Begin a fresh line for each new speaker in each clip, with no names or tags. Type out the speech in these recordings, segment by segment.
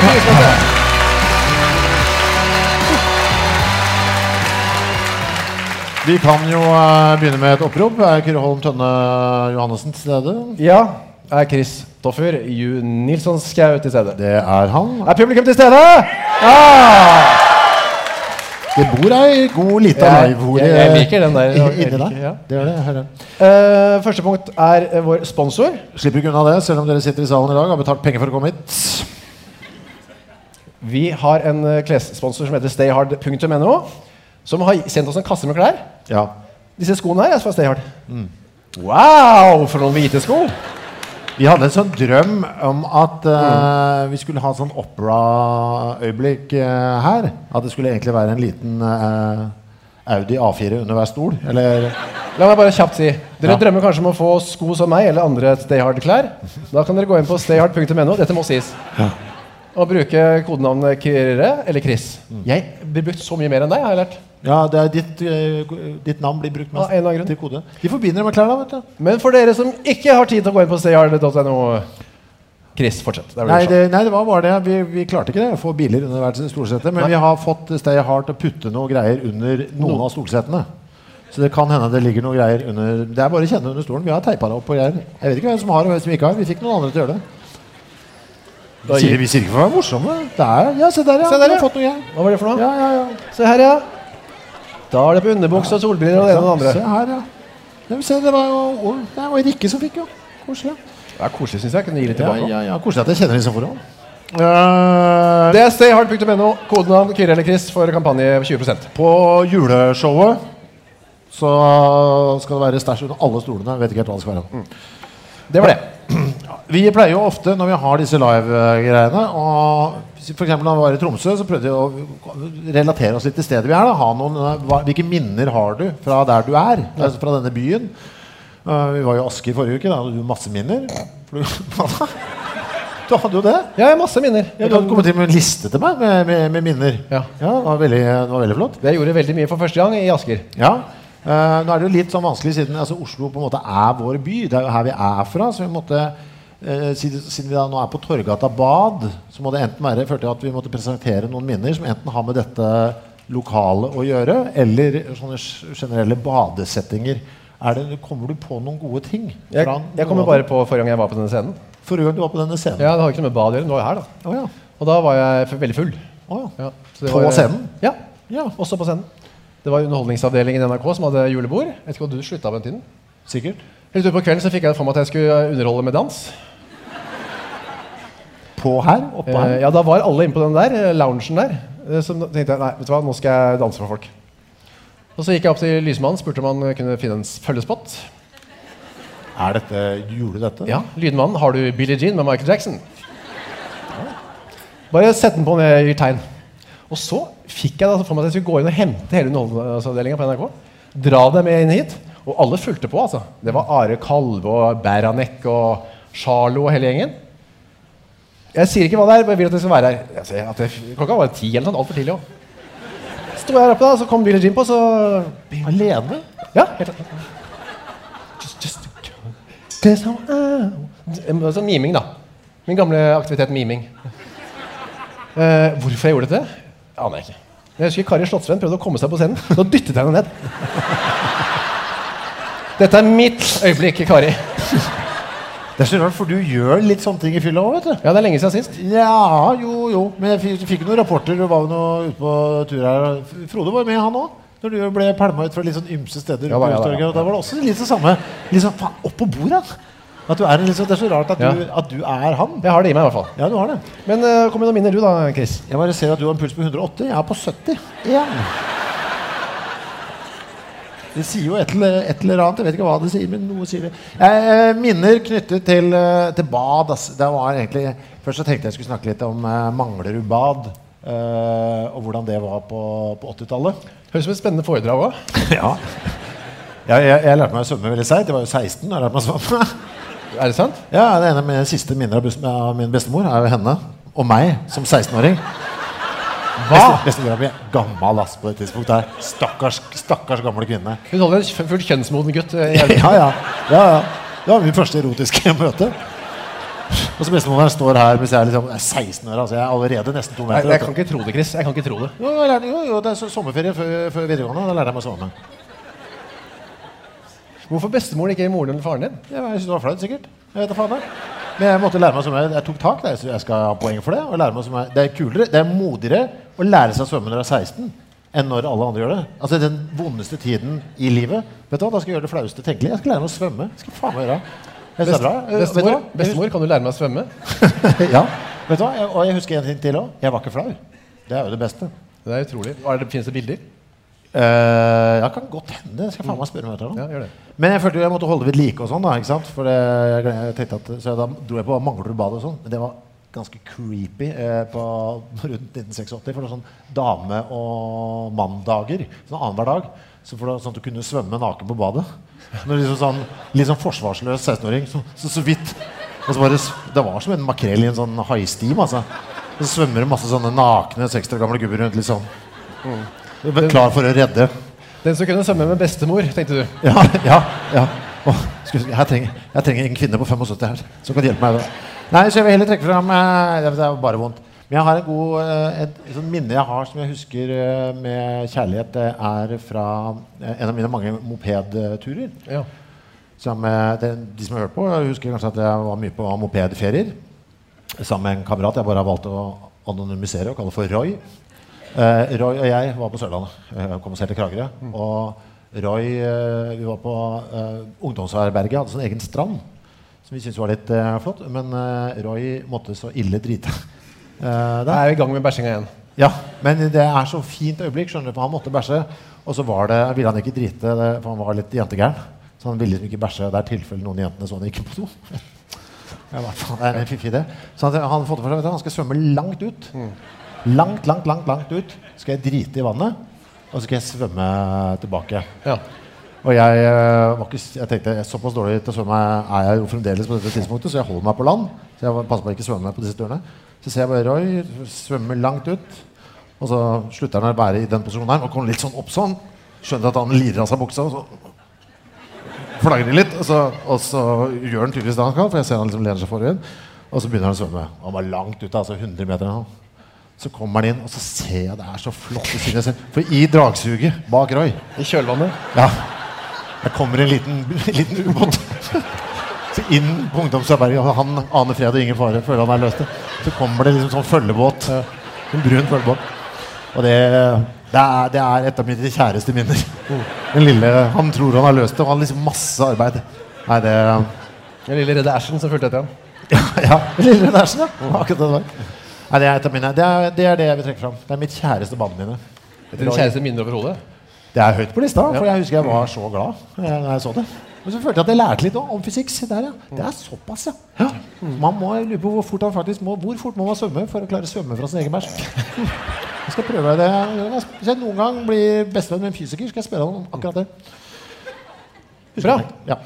pris på det.
Vi kan jo eh, begynne med et opprop. Er Kyrre Holm Tønne Johannessen til stede?
Ja, er Kristoffer Ju Nilsson Skau til stede?
Det er han.
Er publikum til stede? Ja!
Det bor ei god lita
Jeg-
livehore
jeg- jeg liker den der.
i-
Jeg
inni
liker,
der.
ja.
Det gjør det. jeg hører.
Eh, første punkt er eh, vår sponsor.
Slipper ikke unna det, selv om dere sitter i salen i dag og har betalt penger for å komme hit.
Vi har en eh, klessponsor som heter stayhard.no, som har sendt oss en kasse med klær.
Ja.
Disse skoene her er fra Stayhard. Wow, for noen hvite sko!
Vi hadde en sånn drøm om at
Mm.
eh, vi skulle ha sånn operaøyeblikk eh, her. At det skulle egentlig være en liten eh, Audi A4 under hver stol. Eller
La meg bare kjapt si Dere
Ja.
drømmer kanskje om å få sko som meg eller andre Stayhard-klær. Da kan dere gå inn på stayhard.no. Dette må sies. Og bruke kodenavnet Kyrre eller Chris.
Mm.
Jeg blir brukt så mye mer enn deg, har jeg lært.
Ja, det er ditt, eh, ditt navn blir brukt
Av
mest
en eller annen grunn.
til kode. De forbinder det med klærne, vet du.
Men for dere som ikke har tid til å gå inn på stayhard.no Chris, fortsett. Det er vel
Nei,
sånn.
det, nei, det var bare det. Vi, vi klarte ikke det, å få biler under hvert sitt stolsete. Men vi har fått Stay Hard til å putte noe greier under noen av stolsetene. Så det kan hende det ligger noe greier under Det er bare å kjenne under stolen. Vi har teipa det opp på greier. Jeg vet ikke hvem som har og hvem som ikke har. Vi fikk noen andre til å gjøre det.
Da
Vi
gir-
sier, vi sier ikke for å være morsomme. Det er, ja, se der, ja.
Se der,
Vi
ja.
har fått noe greier.
Hva var det for noe?
Ja, ja, ja.
Se her, ja. Da er det på underbukse og solbriller og det ene og det
Se
andre.
her, ja. Nei, men se, det var jo og, det var Rikke som fikk, jo. Koselig.
Det er koselig, syns jeg. Kunne gi litt
Ja,
tilbake. også.
ja, ja. Koselig at jeg kjenner disse forholdene. Eh,
Det er stayhard.no. Kodenavn Kyrre eller Chris for kampanje 20
På juleshowet så skal det være stæsj under alle stolene. Jeg Vet ikke helt hva det skal være. Mm.
Det var det.
Vi pleier jo ofte når vi har disse live-greiene og for eksempel da vi var i Tromsø, så prøvde vi å relatere oss litt til stedet vi er. Da. Ha noen, eh, hva, hvilke minner har du fra der du er? Altså fra denne byen. Eh, vi var jo i Asker forrige uke. Da hadde du masse minner. For Du, du hadde jo det.
Ja, jeg har masse minner.
Ja, du hadde kommet inn med en liste til meg med, med, med minner.
Ja.
det, var veldig, det var veldig flott.
Det gjorde veldig mye for første gang i Asker.
Ja. eh, nå er det jo litt sånn vanskelig siden altså, Oslo på en måte er vår by. Det er jo her vi er fra. Så vi måtte, eh, siden, siden vi da nå er på Torgata Bad, så må det enten være følte jeg at vi måtte presentere noen minner som enten har med dette lokalet å gjøre, eller sånne g- generelle badesettinger. Er det, kommer du på noen gode ting?
Jeg,
fra noen
jeg kommer
av
bare på forrige gang jeg var på denne scenen.
dem? Forrige gang du var på denne scenen.
Ja, Det har ikke noe med bad å gjøre. men Det var jo her, da.
Å ja.
Og da var jeg f- veldig full.
Å ja.
Ja, så det
På
var-
scenen?
Ja.
Ja.
Også på scenen. Det var underholdningsavdelingen i NRK som hadde julebord. Jeg vet ikke hva du slutta med den tiden.
Sikkert.
Helt utpå kvelden så fikk jeg for meg at jeg skulle eh, underholde med dans.
På her? Oppå her?
Eh, ja, da var alle inne på den der, eh, loungen der. Eh, så da tenkte jeg, nei, vet du hva, nå skal jeg danse for folk. Og så gikk jeg opp til lysmannen, spurte om han eh, kunne finne en s- følgespott.
Er dette, Gjorde du dette?
Ja, lydmannen, har du Billie Jean med Michael Jackson? Bare sett den på når jeg gir tegn. Og så fikk jeg da for meg at jeg skulle gå inn og hente hele underholdningsavdelingen på NRK. Dra dem med inn hit. Og alle fulgte på, altså. Det var Are Kalve og Beranek og Charlo og hele gjengen. Jeg sier ikke hva det er, men jeg vil at det skal være her. Jeg ser at det, klokka var ti eller noe sånt. Altfor tidlig òg. Sto jeg her oppe, da, så kom Billie Jean på, så
Alene?
ja. helt klart. Just, just, just how I- Sånn miming, da. Min gamle aktivitet miming. Eh, hvorfor jeg gjorde dette, aner jeg ikke. Jeg husker Kari Slottsveen prøvde å komme seg på scenen. Da dyttet jeg henne ned. Dette er mitt øyeblikk, Kari.
Det er så rart, for du gjør litt sånne ting i fylla òg, vet du.
Ja, Det er lenge siden sist.
Ja, jo, jo. Men jeg fikk, fikk noen rapporter og var jo noe ute på tur her. F- Frode var jo med, han òg. Når du ble pælma ut fra litt sånn ymse steder.
Ja da,
på
ja da,
Youngstorget,
ja.
og Da var det også litt det samme. Liksom, faen, opp på bordet! altså. At du er en litt sånn, Det er så rart at du,
Ja.
at du er han.
Jeg har det i meg, i hvert fall.
Ja, du har det.
Men eh, kom med noen minner, du da, Chris.
Jeg bare ser at du har en puls på 180. Jeg er på 71. Det sier jo et eller, et eller annet. Jeg vet ikke hva det sier, men noe sier det. Jeg eh, minner knyttet til, eh, til bad. ass. Det var egentlig, først så tenkte jeg skulle snakke litt om eh, Manglerud bad. eh, og hvordan det var på, på 80-tallet.
Høres ut som et spennende foredrag òg.
ja. Jeg, jeg, jeg lærte meg å svømme veldig seigt. Jeg var jo 16 da jeg lærte meg å svømme.
Er det sant?
Ja, det ene med siste minner av bus- av min bestemor er jo henne og meg som 16-åring. Hva? Bestemora mi er gammel ass på det tidspunktet her. Stakkars, stakkars gamle kvinne.
Hun holder en kj- fullt kjønnsmoden gutt. eh, i
Ja,
hjelmen.
ja. ja, ja. Det var mitt første erotiske møte. Og så bestemoren står her mens jeg er, liksom, jeg er 16 år. Altså, jeg er allerede nesten to
Nei,
meter.
jeg
vet
kan
du.
ikke tro det, Chris. Jeg kan ikke tro det.
Jo, jeg lærte, jo, jo, det er så- sommerferie før, før videregående. Da lærte jeg meg å svømme.
Hvorfor bestemoren ikke er moren eller faren din?
Jeg, jeg synes det var flaut, sikkert. Jeg vet da faen jeg. Men jeg måtte lære meg å svømme. Jeg tok tak. der, så Jeg skal ha poeng for det. Og lære meg å svømme. Det er kulere, det er modigere å lære seg å svømme når du er 16 enn når alle andre gjør det. Altså Den vondeste tiden i livet. Vet du hva, Da skal jeg gjøre det flaueste tenkelig. Jeg skal lære meg å svømme. Det skal jeg faen meg gjøre. Jeg synes det er bra. Eh, vet du
Bestemor,
hva?
bestemor, kan du lære meg å svømme?
ja. Vet du hva? Jeg, og jeg husker en ting til òg. Jeg var ikke flau. Det er jo det beste.
Det er utrolig. Er det, finnes det bilder?
Uh, ja, kan godt hende. Det Skal jeg faen meg spørre om etter nå.
Eh. Ja, gjør det.
Men jeg følte jo jeg måtte holde ved like og sånn, da. ikke sant? For det, jeg, glem- jeg tenkte at, så da dro jeg på Manglerud bad og sånn. Men det var ganske creepy eh, på rundt 1986. For det var sånn dame- og manndager. Sånn annenhver dag. Så for da, sånn at du kunne svømme naken på badet. Når liksom sånn, litt sånn forsvarsløs 16-åring. Så, så, så vidt. Og så bare, s- det var som en makrell i en sånn haistim, altså. Og så svømmer det masse sånne nakne 60 år gamle gubber rundt litt sånn. Klar for å redde.
Den som kunne svømme med bestemor, tenkte du.
Ja, ja, ja. Åh, skulle- jeg, trenger, jeg trenger en kvinne på 75 her som kan hjelpe meg. Da. Nei, så jeg vil heller trekke fram eh, Det er bare vondt. Men jeg har en god, eh, et, sånn minne jeg har som jeg husker eh, med kjærlighet, det er fra eh, en av mine mange mopedturer.
Ja.
Som, eh, det, de som har hørt på, eh, husker kanskje at jeg var mye på mopedferier sammen med en kamerat jeg bare har valgt å anonymisere og kalle for Roy. Eh, Roy og jeg var på Sørlandet. Eh, kom oss helt til Kragerø. Og Roy eh, Vi var på eh, ungdomsherberget, hadde sånn egen strand som vi syntes var litt eh, flott. Men eh, Roy måtte så ille drite. Eh, der.
Da er vi i gang med bæsjinga igjen.
Ja, men det er så fint øyeblikk, skjønner du, for han måtte bæsje. Og så var det, ville han ikke drite, det- for han var litt jentegæren. Så han ville liksom ikke bæsje. Det er tilfelle noen av jentene så han ikke på do. Ja, hva faen, det er en fiffig idé. Så han, han, fått det for seg, vet du, han skal svømme langt ut. Langt, langt, langt, langt ut. Skal jeg drite i vannet, og så skal jeg svømme tilbake.
Ja.
Og jeg, eh, var ikke, s- jeg tenkte såpass dårlig til å svømme er jeg jo fremdeles på dette tidspunktet, så jeg holder meg på land. Så jeg passer på å ikke svømme på disse turene. Så ser jeg bare Roy svømme langt ut, og så slutter han å være i den posisjonen her og kommer litt sånn opp sånn. Skjønner at han lider av seg buksa, og så flagrer de litt. Og så, og så gjør han tydeligvis det han kan, for jeg ser han liksom lener seg forover. Og så begynner han å svømme. Og han var langt ute, altså 100 meter. eller noe. Så kommer han inn, og så ser jeg det er så flott. å synes jeg. For i dragsuget bak Roy
I kjølvannet.
ja. Der kommer en liten, liten ubåt. Så inn på ungdomsarbeidet, og han aner fred og ingen fare, føler han er løst det. Så kommer det liksom sånn følgebåt. En brun følgebåt. Og det, det, er, det er et av mine kjæreste minner.
Oh.
Den lille, Han tror han har løst det, og han har liksom masse arbeid. Nei, det
Den lille redde æsjen som fulgte etter ham.
Ja, ja. lille Nersen, ja. Akkurat det det var. Nei, det er et av mine. Det er det, er det jeg vil trekke fram. Det er mitt kjæreste banneminne.
Din kjæreste minner overhodet.
Det er høyt på lista, for jeg husker jeg var så glad eh, da jeg så det. Men så følte jeg at jeg lærte litt om fysikk. Se der, ja. Det er såpass, ja. ja. Man må lure på hvor fort, han faktisk må, hvor fort må man svømme for å klare å svømme fra sin egen bæsj. Jeg skal prøve det. Hvis jeg noen gang blir bestevenn med en fysiker, skal jeg spørre han om akkurat det.
Bra.
Ja.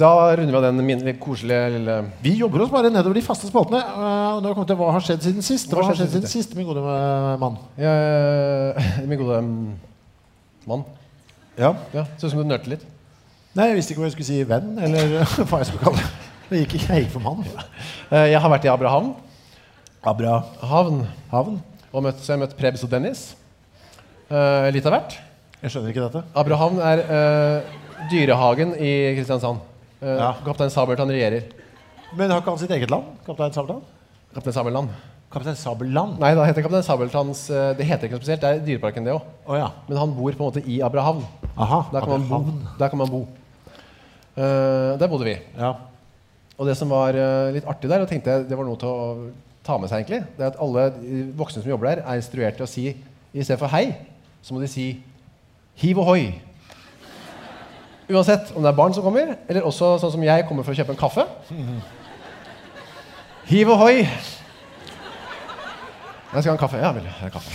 Da runder vi av den min koselige lille
Vi jobber oss bare nedover de faste spaltene. eh, Og nå kommer vi til hva har skjedd siden sist. Hva har skjedd siden sist, min gode eh, mann?
Jeg- Min gode mm, mann.
Ja.
Ja, Ser ut som du nølte litt.
Nei, jeg visste ikke om jeg skulle si venn, eller hva jeg skulle kalle det. Det gikk, jeg gikk for mann.
Eh, Jeg har vært i Abrahavn
Abra.
havn
Havn.
og møtt, så jeg har møtt Prebz og Dennis. Eh, Litt av hvert.
Jeg skjønner ikke dette.
Abrahavn er eh, dyrehagen i Kristiansand. Eh,
Ja.
Kaptein Sabeltann regjerer.
Men har ikke han sitt eget land? Kaptein Sabeltann?
Kaptein Sabeltann.
Kaptein Sabeltann?
Nei, da heter Kaptein Sabeltanns eh, Det heter ikke noe spesielt, det er Dyreparken, det òg.
Å ja.
Men han bor på en måte i Abrahavn.
Aha.
Der kan man bo.
Abrahavn.
Der, kan man bo. Eh, der bodde vi.
Ja.
Og det som var eh, litt artig der, og tenkte jeg det var noe til å ta med seg, egentlig, det er at alle eh, voksne som jobber der, er instruert til å si i stedet for hei, så må de si hiv ohoi. Uansett om det er barn som kommer, eller også sånn som jeg kommer for å kjøpe en kaffe. Hiv ohoi. Jeg skal ha en kaffe. Ja vel, jeg har kaffe.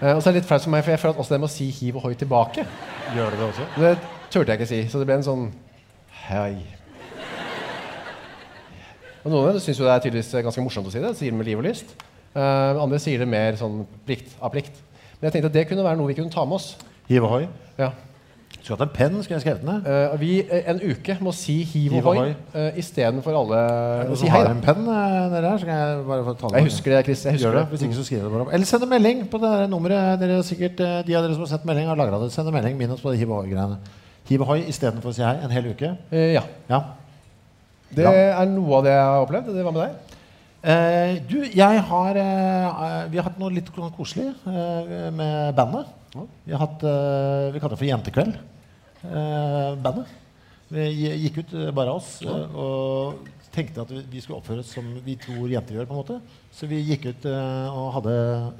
Eh, og så er det litt flaut for meg, for jeg føler at også det med å si hiv ohoi tilbake,
Gjør du det også?
det turte jeg ikke si. Så det ble en sånn hei. Og noen av dem syns jo det er tydeligvis ganske morsomt å si det. Sier det med liv og lyst. Eh, andre sier det mer sånn plikt, av plikt. Men jeg tenkte at det kunne være noe vi kunne ta med oss.
Hiv ohoi.
Ja.
Skulle hatt en penn, skulle jeg skrevet ned.
Eh, vi eh, en uke må si hiv og
Hiv
hoi
ohoi.
eh, istedenfor alle Si
Noen som
hei,
har
da.
en penn eh, nede her, så kan jeg bare få ta
Jeg husker det, Chris. Jeg husker
Gjør det.
det.
Hvis ikke, så skriver jeg det bare opp. Eller send en melding på det der nummeret. Dere har sikkert, eh, de av dere som har sett melding, har lagra det. Send en melding. Minn oss på det hiv ohoi-greiene. Hiv ohoi istedenfor å si hei en hel uke.
Eh, ja.
Ja.
Det er noe av det jeg har opplevd. Det var med deg.
Eh, du, jeg har eh, Vi har hatt noe litt sånn koselig eh, med bandet. Vi har hatt eh, Vi kaller det for Jentekveld. Eh, bandet. Vi gi- gikk ut, eh, bare oss, eh, og tenkte at vi- vi skulle oppføre oss som vi tror jenter gjør. på en måte Så vi gikk ut eh, og hadde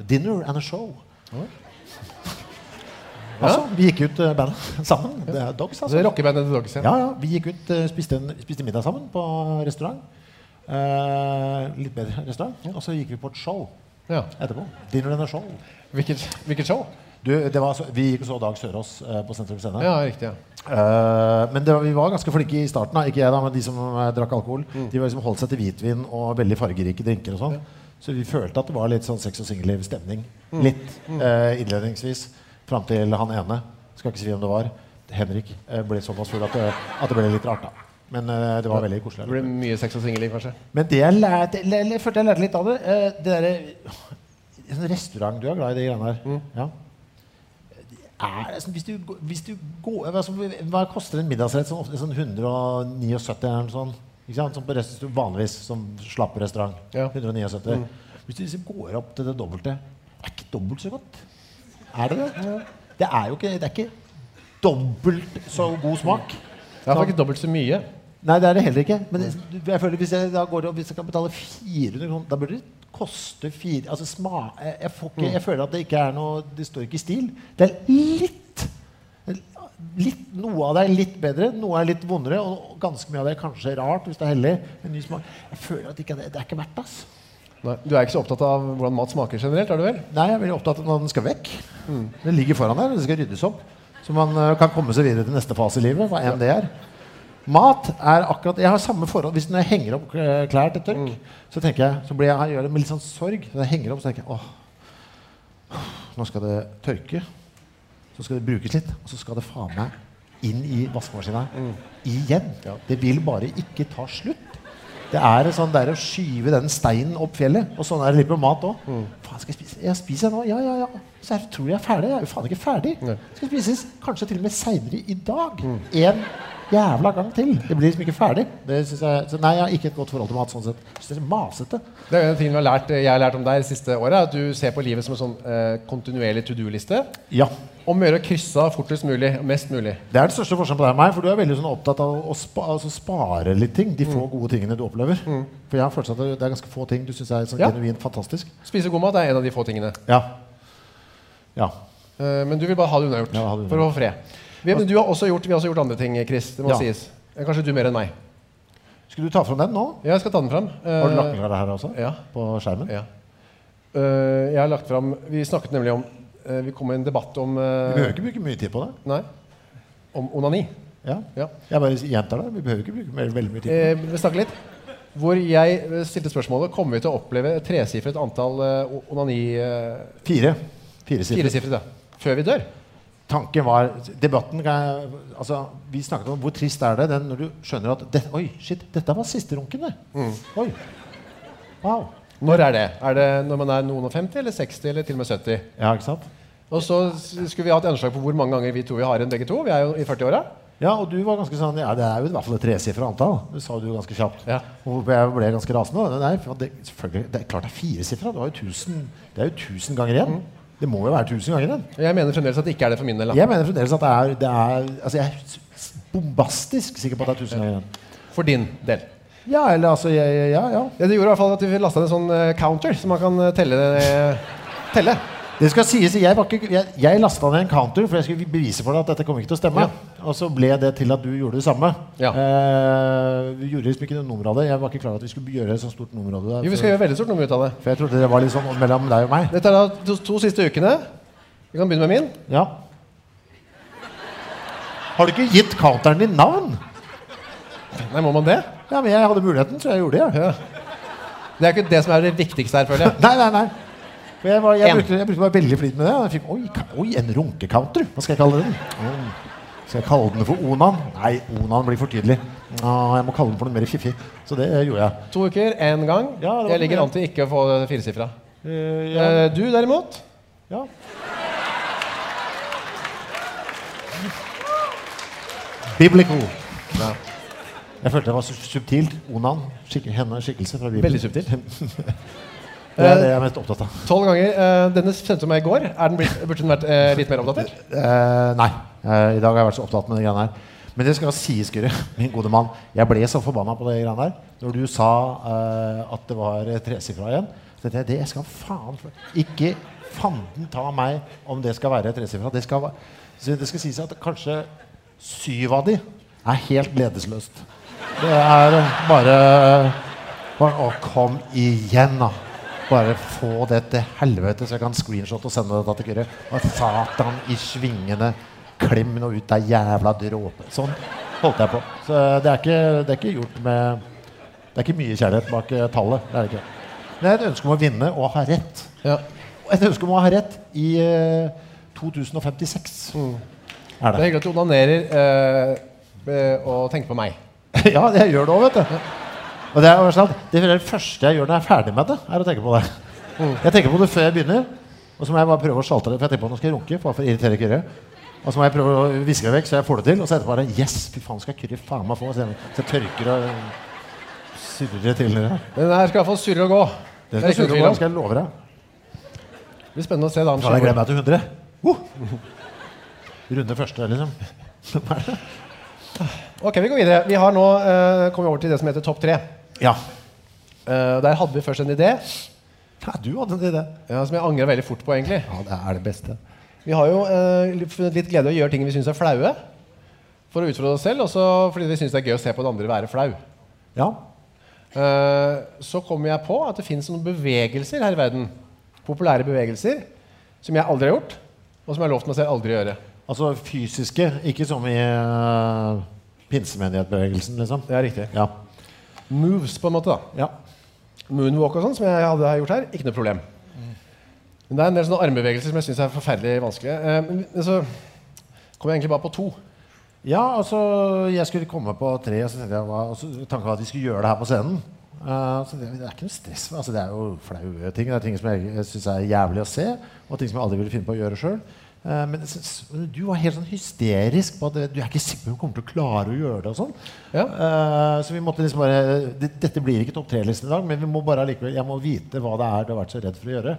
dinner and a show. Altså, vi gikk ut eh, bandet sammen. Det er dogs, altså.
Altså, Rockebandet til Dogs.
Ja, ja. Vi gikk ut, eh, spiste, en, spiste middag sammen på restaurant. Eh, litt bedre restaurant. Og så gikk vi på et show
Ja.
etterpå. Dinner and a show.
Hvilket, hvilket show?
Du, det var, så, vi gikk og så Dag Sørås eh, på Sentrum Scene.
Ja, riktig. ja.
Eh, men det, var- vi var ganske flinke i starten. Da. Ikke jeg, da, men de som eh, drakk alkohol. De var liksom holdt seg til hvitvin og veldig fargerike drinker. og sånn Så vi følte at det var litt sånn sex og singelliv-stemning. Litt eh, innledningsvis. Fram til han ene, skal ikke si hvem det var, Henrik, eh, ble såpass full at, det- at det ble litt rart. da Men eh, det var veldig koselig.
Det blir mye sex og singelliv, kanskje.
Men det jeg lærte, eller- eller følte jeg lærte litt av det eh, Det derre sånn Restaurant Du er glad i de greiene der. Ja. Er, det sånn, hvis du, gå- hvis du går, altså, hva koster en middagsrett? Sånn, ofte sånn 179 eller noe sånt? Ikke sant? Sånn på rest, hvis du vanligvis som slapp restaurant.
Ja.
179. Hvis du liksom går opp til det dobbelte Det er ikke dobbelt så godt. Er det det? Det er jo ikke, det er ikke dobbelt så god smak.
Det
Sånn.
er faktisk dobbelt så mye.
Nei, det er det heller ikke. Men det- du- jeg føler hvis jeg da går og hvis jeg kan betale 400 kroner, da burde det koste fire Altså sma... Jeg, jeg får ikke, jeg føler at det ikke er noe Det står ikke i stil. Det er litt, litt Noe av det er litt bedre, noe er litt vondere, og ganske mye av det er kanskje rart hvis det er hellig. En ny smak. Jeg føler at ikke, det, det er ikke verdt det. altså. ass.
Nei, du er ikke så opptatt av hvordan mat smaker generelt, er du vel?
Nei, jeg er veldig opptatt av at den skal vekk. Den ligger foran her, den skal ryddes opp. Så man eh, kan komme seg videre til neste fase i livet, hva enn det er. Mat er akkurat Jeg har samme forhold Hvis når jeg henger opp eh, klær til tørk, så tenker jeg Så blir jeg, jeg gjør det med litt sånn sorg. Når jeg henger opp, så tenker jeg åh, nå skal det tørke. Så skal det brukes litt, og så skal det faen meg inn i vaskemaskina igjen. Det vil bare ikke ta slutt. Det er en sånn der å skyve den steinen opp fjellet. Og sånn er det litt med mat òg. Faen, skal jeg spise? Ja, spiser jeg nå? Ja, ja, ja. Så jeg tror jeg er ferdig. Jeg er jo faen ikke ferdig.
Nei.
Skal spises kanskje til og med seinere i dag. En jævla gang til. Det blir liksom ikke ferdig. Det synes jeg, så nei, jeg har ikke et godt forhold til mat sånn sett. Jeg synes det er masete.
Det er jo en ting vi har lært, eh, jeg har lært om deg det siste året, er at du ser på livet som en sånn eh, kontinuerlig to do-liste.
Ja.
Om å gjøre å krysse av fortest mulig, og mest mulig.
Det er den største forskjellen på deg og meg, for du er veldig sånn opptatt av å spa, altså spare litt ting. De få gode tingene du opplever. For jeg har følelsen av at det er ganske få ting du syns er sånn
Ja.
genuint fantastisk.
Spise god mat er en av de få tingene.
Ja. Ja.
Eh, men du vil bare ha det unnagjort
Ja, ha det
for å få fred. Vi, men du har også gjort, vi har også gjort andre ting, Chris. Det må
Ja.
sies. Eh, Kanskje du mer enn meg.
Skulle du ta fram den nå?
Ja, Jeg skal ta den fram. Eh,
Har du lagt den fra deg her også?
Ja.
På skjermen?
ja. Eh, jeg har lagt fram Vi snakket nemlig om eh, Vi kom i en debatt om
Vi
eh,
behøver ikke bruke mye tid på det.
Nei. Om onani.
Ja.
Ja.
Jeg bare gjentar det. Vi behøver ikke bruke mer, veldig mye tid.
Eh, vi snakker litt. Hvor jeg eh, stilte spørsmålet Kommer vi til å oppleve et tresifret antall eh, o- onani... Eh,
Fire. Fire sider.
firesifret, ja. Før vi dør.
Tanken var Debatten kan jeg, altså, Vi snakket om hvor trist er det den når du skjønner at det, Oi, shit, dette var siste runken, det. Oi. Wow.
Når er det? Er det når man er noen og 50, eller 60, eller til og med 70?
Ja, ikke sant?
Og så s- skulle vi hatt anslag på hvor mange ganger vi to vi har igjen begge to. Vi er jo i 40-åra.
Ja, og du var ganske sånn Ja, det er jo i hvert fall et tresifra antall. Det sa du jo ganske kjapt.
Ja.
Og jeg ble ganske rasende. da. Nei, for det, selvfølgelig, det er klart det er firesifra. Det, var jo 1000 det er jo 1000 ganger igjen. Det må jo være 1000 ganger igjen.
Jeg mener fremdeles at det ikke er det for min del. Da.
Jeg mener fremdeles at det er, det er Altså, jeg er s- bombastisk sikker på at det er 1000 ganger igjen.
For din del.
Ja, eller altså jeg, jeg- Ja, ja.
Ja, det gjorde i hvert fall at vi lasta en sånn eh, counter, så man kan eh, telle. eh, telle.
Det skal sies, jeg, var ikke, jeg, jeg lasta ned en counter, for jeg skulle bevise for deg at dette kommer ikke til å stemme. Og så ble det til at du gjorde det samme.
Ja.
Eh, vi gjorde liksom ikke noe nummer av det. Jeg var ikke klar over at vi skulle gjøre et så stort nummer av det.
Jo, vi skal gjøre veldig stort nummer ut av det.
For jeg trodde det var litt sånn mellom deg og meg.
Dette er da to, to siste ukene. Vi kan begynne med min.
Ja. Har du ikke gitt counteren din navn?
Nei, må man det?
Ja, men jeg hadde muligheten, så jeg gjorde det. jeg.
Ja. Det er ikke det som er det viktigste her, føler jeg.
Nei, nei, nei. For jeg, var, jeg,
En.
brukte, jeg brukte meg veldig flid med det. og Jeg fikk, oi, ka- oi, en runkecounter. Hva skal jeg kalle den? Mm. Skal jeg kalle den for Onan? Nei, Onan blir for tydelig. Ah, jeg må kalle den for noe mer fiffig. Så det eh, gjorde jeg.
To uker, én gang.
Ja, det var
jeg ligger
mye.
an til ikke å få firesifra.
Eh, ja,
Eh, Du derimot
ja. Biblical. Ja. Jeg følte det var su- subtilt. Onan. Skikkel, henne skikkelse fra Bibelen.
Veldig subtilt.
Det er det jeg er mest opptatt av.
tolv ganger. Eh, Denne sendte du meg i går. Er den blitt, burde den vært eh, litt mer oppdatert?
Eh, nei. Eh, I dag har jeg vært så opptatt med de greiene her. Men det skal sies, Guri, min gode mann. Jeg ble så forbanna på de greiene her. Når du sa eh, at det var eh, tresifra igjen, så tenkte jeg det skal faen for- Ikke fanden ta meg om det skal være tresifra. Det skal, va- så det skal sies at kanskje syv av de er helt ledesløst. Det er eh, bare, bare Å, kom igjen, da. Bare få det til helvete, så jeg kan screenshot og sende det til Kyrre. Og satan i svingene. Klem nå ut, deg jævla dråpe. Sånn holdt jeg på. Så eh, det er ikke, det er ikke gjort med Det er ikke mye kjærlighet bak eh, tallet. Det er det ikke. Men det er et ønske om å vinne og ha rett.
Ja.
Og et ønske om å ha rett i eh, 2056. Er
Det er hyggelig at du onanerer eh, eh, og tenker på meg.
Ja, jeg gjør det òg, vet du. Og det er jo sånn, det er det første jeg gjør når jeg er ferdig med det, er å tenke på det.
Mm.
Jeg tenker på det før jeg begynner, og så må jeg bare prøve å sjalte det. For jeg tenker på at nå skal jeg runke, bare for å irritere Kyrre. Og så må jeg prøve å viske det vekk, så jeg får det til. Og så etterpå er det Yes, fy faen, skal Kyrre faen meg få? Så jeg, så jeg tørker og surrer til. dere.
Men den her skal iallfall surre og gå.
Det
Det er
skal,
ikke noe
surre,
tvil
om,
om.
skal jeg love deg.
Det blir spennende å se da om
Kan jeg
skjer.
glede meg til 100? Uh! Runde første, liksom.
Ok, vi går videre. Vi har nå eh, kommet over til det som heter Topp tre.
Ja.
Eh, der hadde vi først en idé
ja du hadde en idé.
ja, som jeg angrer veldig fort på, egentlig.
Ja, det er det beste.
Vi har jo eh, litt- funnet litt glede i å gjøre ting vi syns er flaue. For å utfordre oss selv, og så fordi vi syns det er gøy å se på den andre være flau.
Ja.
Eh, så kommer jeg på at det fins noen bevegelser her i verden. Populære bevegelser som jeg aldri har gjort, og som jeg har lovt meg selv aldri å gjøre.
Altså fysiske, ikke som i uh, pinsemenighetsbevegelsen, liksom.
Det er riktig.
Ja.
Moves, på en måte. da.
ja.
Moonwalk og sånn, som jeg hadde gjort her, ikke noe problem. Men det er en del sånne armbevegelser som jeg syns er forferdelig vanskelige. Eh, men- men så kom jeg egentlig bare på to.
Ja, altså, jeg skulle komme på tre, og så tenkte jeg hva- og så tanken var at vi skulle gjøre det her på scenen. Eh, så det, det er ikke noe stress. men Altså, det er jo flaue ting. Det er ting som jeg syns er jævlig å se, og ting som jeg aldri ville finne på å gjøre sjøl. men jeg synes- du var helt sånn hysterisk på at eh, du er ikke sikker på om du kommer til å klare å gjøre det. og sånn.
Ja.
Eh, så vi måtte liksom bare det, Dette blir ikke topp tre-listen i dag, men vi må bare allikevel, jeg må vite hva det er du har vært så redd for å gjøre.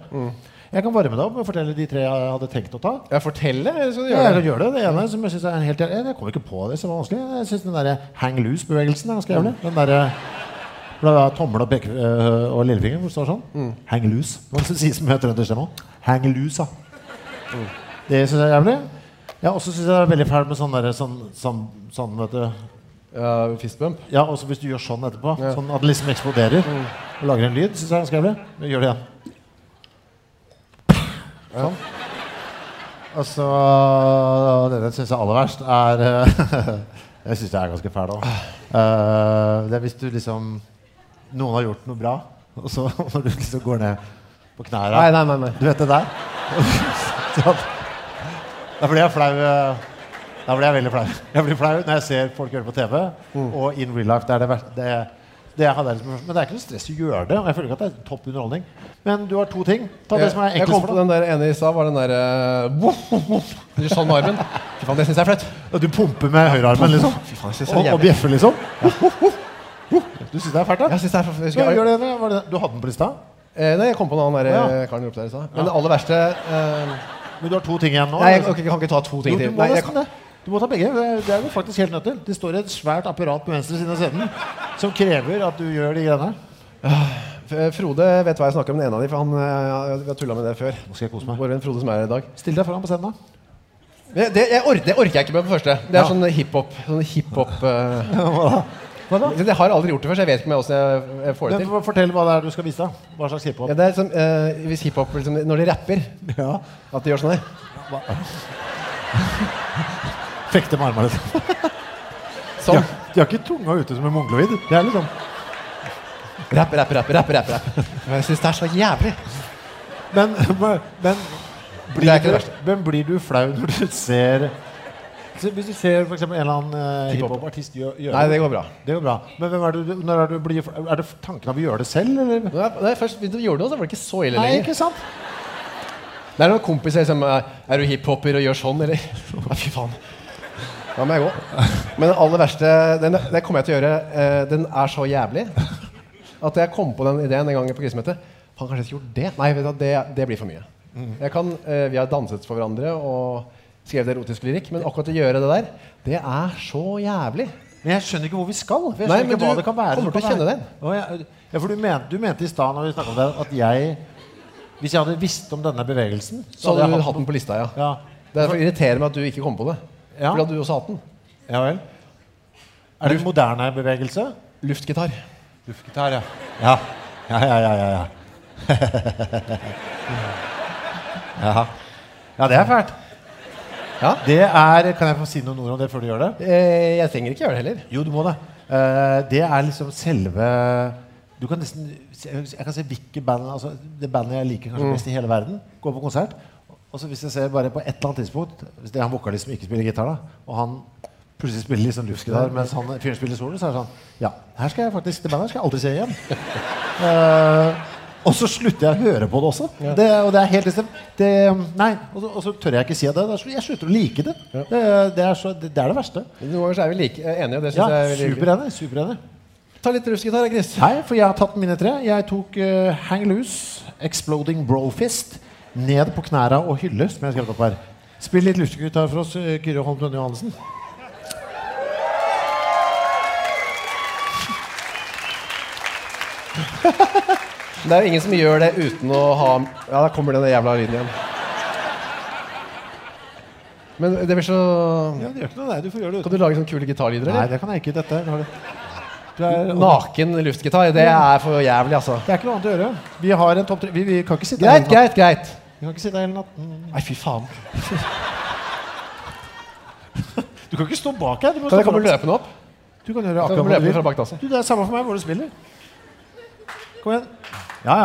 Jeg kan varme deg opp med å fortelle de tre jeg hadde tenkt å ta.
Jeg forteller, eller skal du
Ja,
gjøre
jeg
det?
kan gjøre det. Det ene som jeg synes er en helt jævlig Jeg kommer ikke på det som var vanskelig. Jeg synes den der hang loose-bevegelsen er ganske jævlig. Den der hvor det er tommel og, peke, øh, og lillefinger hvor det står sånn.
Mm.
Hang loose. Hva som sies med trønderstemme også. Hang loose, da. Det synes jeg er jævlig. Jeg også synes jeg det er veldig fælt med sånn derre sånn, sånn, sånn, vet du
Ja, fistbump.
Ja, også hvis du gjør sånn etterpå. Sånn at det liksom eksploderer. Og lager en lyd. Synes jeg er ganske jævlig. Men Gjør det igjen. Sånn. Og så Det syns jeg er aller verst, er eh, Jeg syns det er ganske fæl òg. det er hvis du liksom Noen har gjort noe bra, og så når du liksom går ned på knærne
Nei, nei, nei. nei.
Du vet det der? Sånn. Da blir jeg flau. eh, Da blir jeg veldig flau. Jeg blir flau når jeg ser folk gjøre det på TV.
Mm.
Og in real life. Det er det verste. Det, det hadde jeg liksom, men det er ikke noe stress å gjøre det. Og jeg føler ikke at det er topp underholdning. Men du har to ting. Ta det
Jeg,
som er
jeg kom
enklest
på
for deg.
den der ene i stad, var den der eh, voff, voff, voff. Du gjør Sånn med armen. Fy faen, det syns jeg er flaut.
Du pumper med høyrearmen, liksom.
Fy faen, jeg synes det
Og,
er
og
jævlig.
bjeffer, liksom. Du syns det er fælt, da?
Jeg synes det er for-
Ja,
jeg,
gjør det, det, var det. Du hadde den på lista?
eh, Nei, jeg kom på noen annen der,
Å,
eh, karen oppe der i stad. Men det aller verste eh,
Men du har to ting igjen nå?
Nei, jeg
liksom.
ok, jeg kan ikke ta to ting
Jo,
til.
du må
Nei, jeg,
nesten det. Du må ta begge. Det er du faktisk helt nødt til. Det står et svært apparat på venstre side av scenen som krever at du gjør de greiene.
F- Frode vet hva jeg snakker om, den ene av de, for han eh, jeg har tullet med det før.
Nå skal jeg kose meg.
Vår venn Frode som er her i dag.
Still deg foran på scenen, da.
Det, det, jeg or det orker jeg ikke med på første. Det er
Ja.
sånn hiphop. Sånn hiphop eh,
Hva da?
Jeg har aldri gjort det før, så jeg vet ikke om jeg, hvordan jeg, jeg får det
Men
til.
for- Fortell hva det er du skal vise. da. Hva slags hiphop?
Ja, det er som, eh, hvis hiphop liksom, Når de rapper,
Ja.
at de gjør sånn her.
Fekte med armene. liksom. De
Sånn.
har, de har ikke tunga ute som en mongoloid. Det er liksom.
Rapp, rapp, rapp, rapp, rapp, rapp. Jeg syns det er så jævlig.
Men, men
Det er ikke
blir,
det
du, men blir du flau når du ser Så Hvis du ser for eksempel en eller annen eh,
Hiphop.
hiphopartist gjø- gjøre
Nei, det går bra.
Det er jo bra. Men hvem er, det du, når er, det du blir, er det tanken av å gjøre det selv, eller?
Da jeg, da jeg først begynte å gjøre det, så var det ikke så ille
Nei,
lenger.
ikke sant?
Det er noen kompiser som eh, Er du hiphoper og gjør sånn, eller? Ja, fy faen. Da må jeg gå. Men den aller verste den, Det kommer jeg til å gjøre. eh, Den er så jævlig at jeg kom på den ideen en gang på krisemøtet. Faen, kanskje jeg skulle gjort det? Nei, vet du, hva, det, det blir for mye. Jeg kan, eh, vi har danset for hverandre og skrevet erotisk lyrikk, men akkurat å gjøre det der, det er så jævlig.
Men jeg skjønner ikke hvor vi skal. For jeg
Nei,
skjønner
men
ikke hva
du
det kan være. som
kommer til å
kan
kjenne
være-
den.
Å, ja, ja, for du, men, du mente i stad når vi snakket om det, at jeg Hvis jeg hadde visst om denne bevegelsen
Så hadde du
jeg
hatt den på lista, ja.
Ja.
Det er for irriterer meg at du ikke kom på det.
Ja.
For da hadde du også hatt den.
ja vel. Er det en moderne bevegelse?
Luftgitar.
Luftgitar, ja. Ja, ja, ja, ja. ja, ja. ja. ja det er fælt.
Ja.
Det er, kan jeg få si noen ord om det før du gjør det?
Eh, jeg trenger ikke gjøre det heller.
Jo, du må det. Eh, det er liksom selve Du kan nesten se- Jeg kan se hvilke band altså, Det bandet jeg liker kanskje best i hele verden, gå på konsert. Og så hvis jeg ser bare på et eller annet tidspunkt Hvis det er han vokalisten som ikke spiller gitar, da, og han plutselig spiller litt sånn luftgitar mens han fyren spiller solo, så er det sånn Ja, her skal jeg faktisk det bandet her skal jeg aldri se igjen. Eh, og så slutter jeg å høre på det også. Det, og det er helt liksom det, Nei, og så, og så tør jeg ikke si det. Da slu- Jeg slutter å like det. Det, det, er, så, det, det er det verste.
Noen ganger så er vi like, eh, enige, og det syns
Ja,
jeg er veldig hyggelig.
superenig. superenig.
Ta litt russgitar, Chris.
Hei, for jeg har tatt mine tre. Jeg tok eh, Hang Loose, Exploding Brofist, Ned på knæra og Hylle, som jeg har skrevet opp her. Spill litt luftgitar for oss, eh, Kyrre Holm Tønne Johansen.
Det er jo ingen som gjør det uten å ha Ja, da kommer den jævla lyden igjen. Men det blir så
Ja, det gjør ikke noe, det. Du får gjøre det
Kan du lage sånne kule gitarlyder,
Nei,
eller?
det kan jeg ikke. Dette har du. Du er,
Naken luftgitar, det er for jævlig, altså.
det er ikke noe annet å gjøre. Vi har en topp tre vi, vi kan ikke sitte
Greit,
her hele natten.
greit, greit.
Vi kan ikke sitte her hele natten.
Nei, fy faen.
Du kan ikke stå bak her. Du, må
Kan
stå
jeg komme
foran.
løpende opp?
du kan
Kan jeg
gjøre akkurat
komme
hva du
løpende
vil.
fra bak dasset?
Du, det er samme for meg hvor du spiller. Kom igjen. Ja, ja.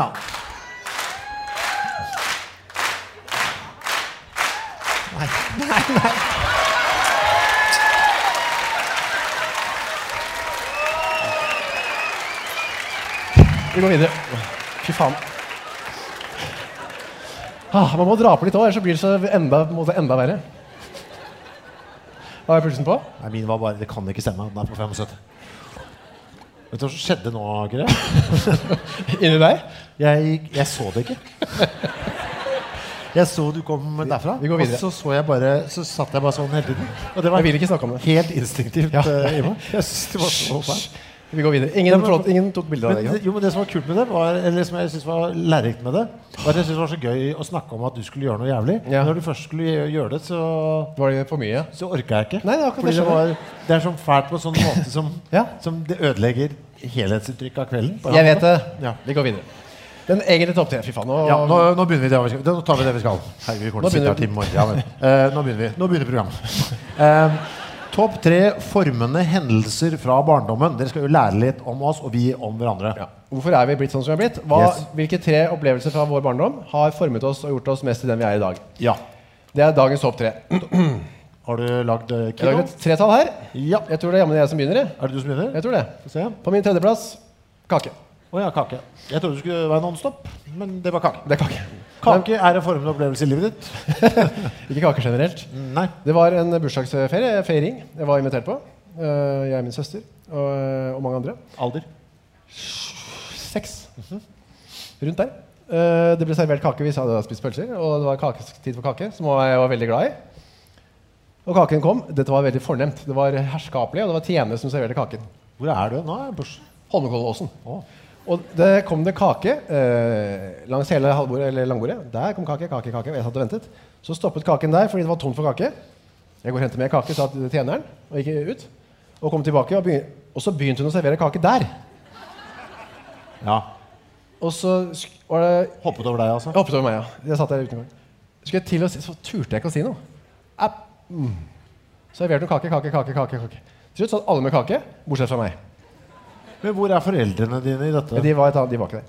Vi går videre. Fy faen. Ah, man må dra på litt òg, ellers så blir det så enda, på en måte enda verre. Hva er pulsen på?
Nei, min var bare Det kan ikke stemme at den er på 75. Vet du hva som skjedde nå, Kyrre?
Inni deg?
Jeg, gikk- jeg så det ikke. Jeg så du kom derfra,
vi går videre.
og så, så jeg bare, så satt jeg bare sånn hele tiden. Og det
Jeg
var
vil ikke snakke om det.
helt instinktivt
Ja.
eh, i meg. Jeg synes det var så fælt.
Hysj. Vi går videre. Ingen, forlåt, ingen tok bilde av
Men,
deg. ikke sant?
det- jo, men det som var kult med det, var, eller som jeg synes var lærerikt med det, var at jeg synes det var så gøy å snakke om at du skulle gjøre noe jævlig.
Ja.
Når du først skulle gjø- gjøre det, så,
Var det for mye?
så orka jeg ikke.
Nei, det er akkurat
Fordi
det
det, var, det er sånn fælt på en sånn måte som,
Ja.
som det ødelegger helhetsinntrykket av kvelden. på en
Jeg
annen
vet det.
Ja.
Vi går videre. Den egentlige topp tre. Fy faen. Nå,
Ja, nå, nå begynner vi det vi skal. Nå tar vi det vi skal. Herregud, vi kommer til å sitte
Nå begynner
her til i morgen. Ja, men, eh, nå begynner vi. Nå begynner programmet. Eh, Topp tre formende hendelser fra barndommen. Dere skal jo lære litt om oss, og vi om hverandre.
ja. Hvorfor er vi blitt sånn som vi er blitt? Hva,
Yes.
Hvilke tre opplevelser fra vår barndom har formet oss og gjort oss mest til den vi er i dag?
Ja.
Det er dagens topp tre. Jeg
Har du lagd eh,
har
kino?
laget et tretall her.
Ja.
Jeg tror det er jammen jeg som begynner. jeg.
Er det du som begynner?
Jeg tror det.
Få se.
På min tredjeplass kake.
Å ja, kake. Jeg trodde det skulle være Nonstop, men det var kake.
Det er kake.
Kake er en formende opplevelse i livet ditt?
Ikke kake generelt.
Nei.
Det var en bursdagsferie, feiring, jeg var invitert på. Eh, Jeg, min søster og, eh, og mange andre.
Alder?
Seks. Mhm. Rundt der. Eh, det ble servert kake, vi hadde spist pølser, og det var kaketid for kake, som jeg var veldig glad i. Og kaken kom. Dette var veldig fornemt. Det var herskapelig, og det var tjenere som serverte kaken.
Hvor er du nå? er jeg Børs.
Holmenkollåsen.
Å.
Og det kom det kake eh, langs hele halvbordet, eller langbordet. Der kom kake, kake, kake. Jeg satt og ventet. Så stoppet kaken der fordi det var tomt for kake. Jeg går og henter mer kake, sa til tjeneren, og gikk ut. Og kom tilbake, og, begyn og så begynte hun å servere kake der.
Ja.
Og så sk- var det
Hoppet over deg, altså?
Jeg hoppet over meg, ja. Jeg satt der uten gang. Skulle jeg til å si, så turte jeg ikke å si noe. App. Mm. Serverte hun kake, kake, kake, kake. kake. Til slutt satt alle med kake, bortsett fra meg.
Men hvor er foreldrene dine i dette?
Men de var, et annet, de var ikke der.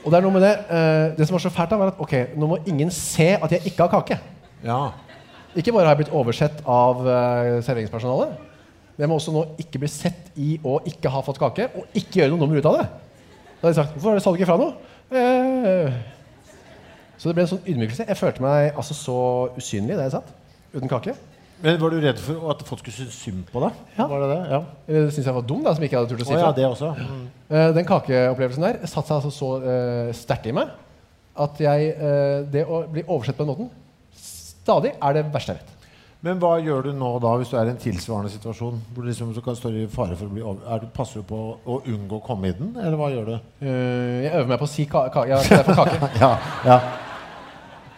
Og det er noe med det eh, Det som var så fælt, da, var at ok, nå må ingen se at jeg ikke har kake.
Ja.
Ikke bare har jeg blitt oversett av eh, serveringspersonalet, men jeg må også nå ikke bli sett i å ikke ha fått kake, og ikke gjøre noe nummer ut av det. Da hadde jeg sagt Hvorfor sa du ikke fra noe? Eh. Så det ble en sånn ydmykelse. Jeg følte meg altså så usynlig der jeg satt, uten kake.
Men Var du redd for at folk skulle synes synd på deg?
Ja.
Var det det? Ja.
Eller det syntes jeg var dum, da, som ikke hadde turt å si
Å ja,
fra.
det også. Mm.
Eh, Den kakeopplevelsen der satte seg altså så eh, sterkt i meg at jeg, eh, det å bli oversett på den måten stadig er det verste jeg vet.
Men hva gjør du nå da hvis du er i en tilsvarende situasjon? Hvor du liksom så kan stå i fare for å bli over... Er du, passer du på å unngå å komme i den, eller hva gjør du?
Eh, Jeg øver meg på å si ka ka ja, det er for kake.
Ja, ja,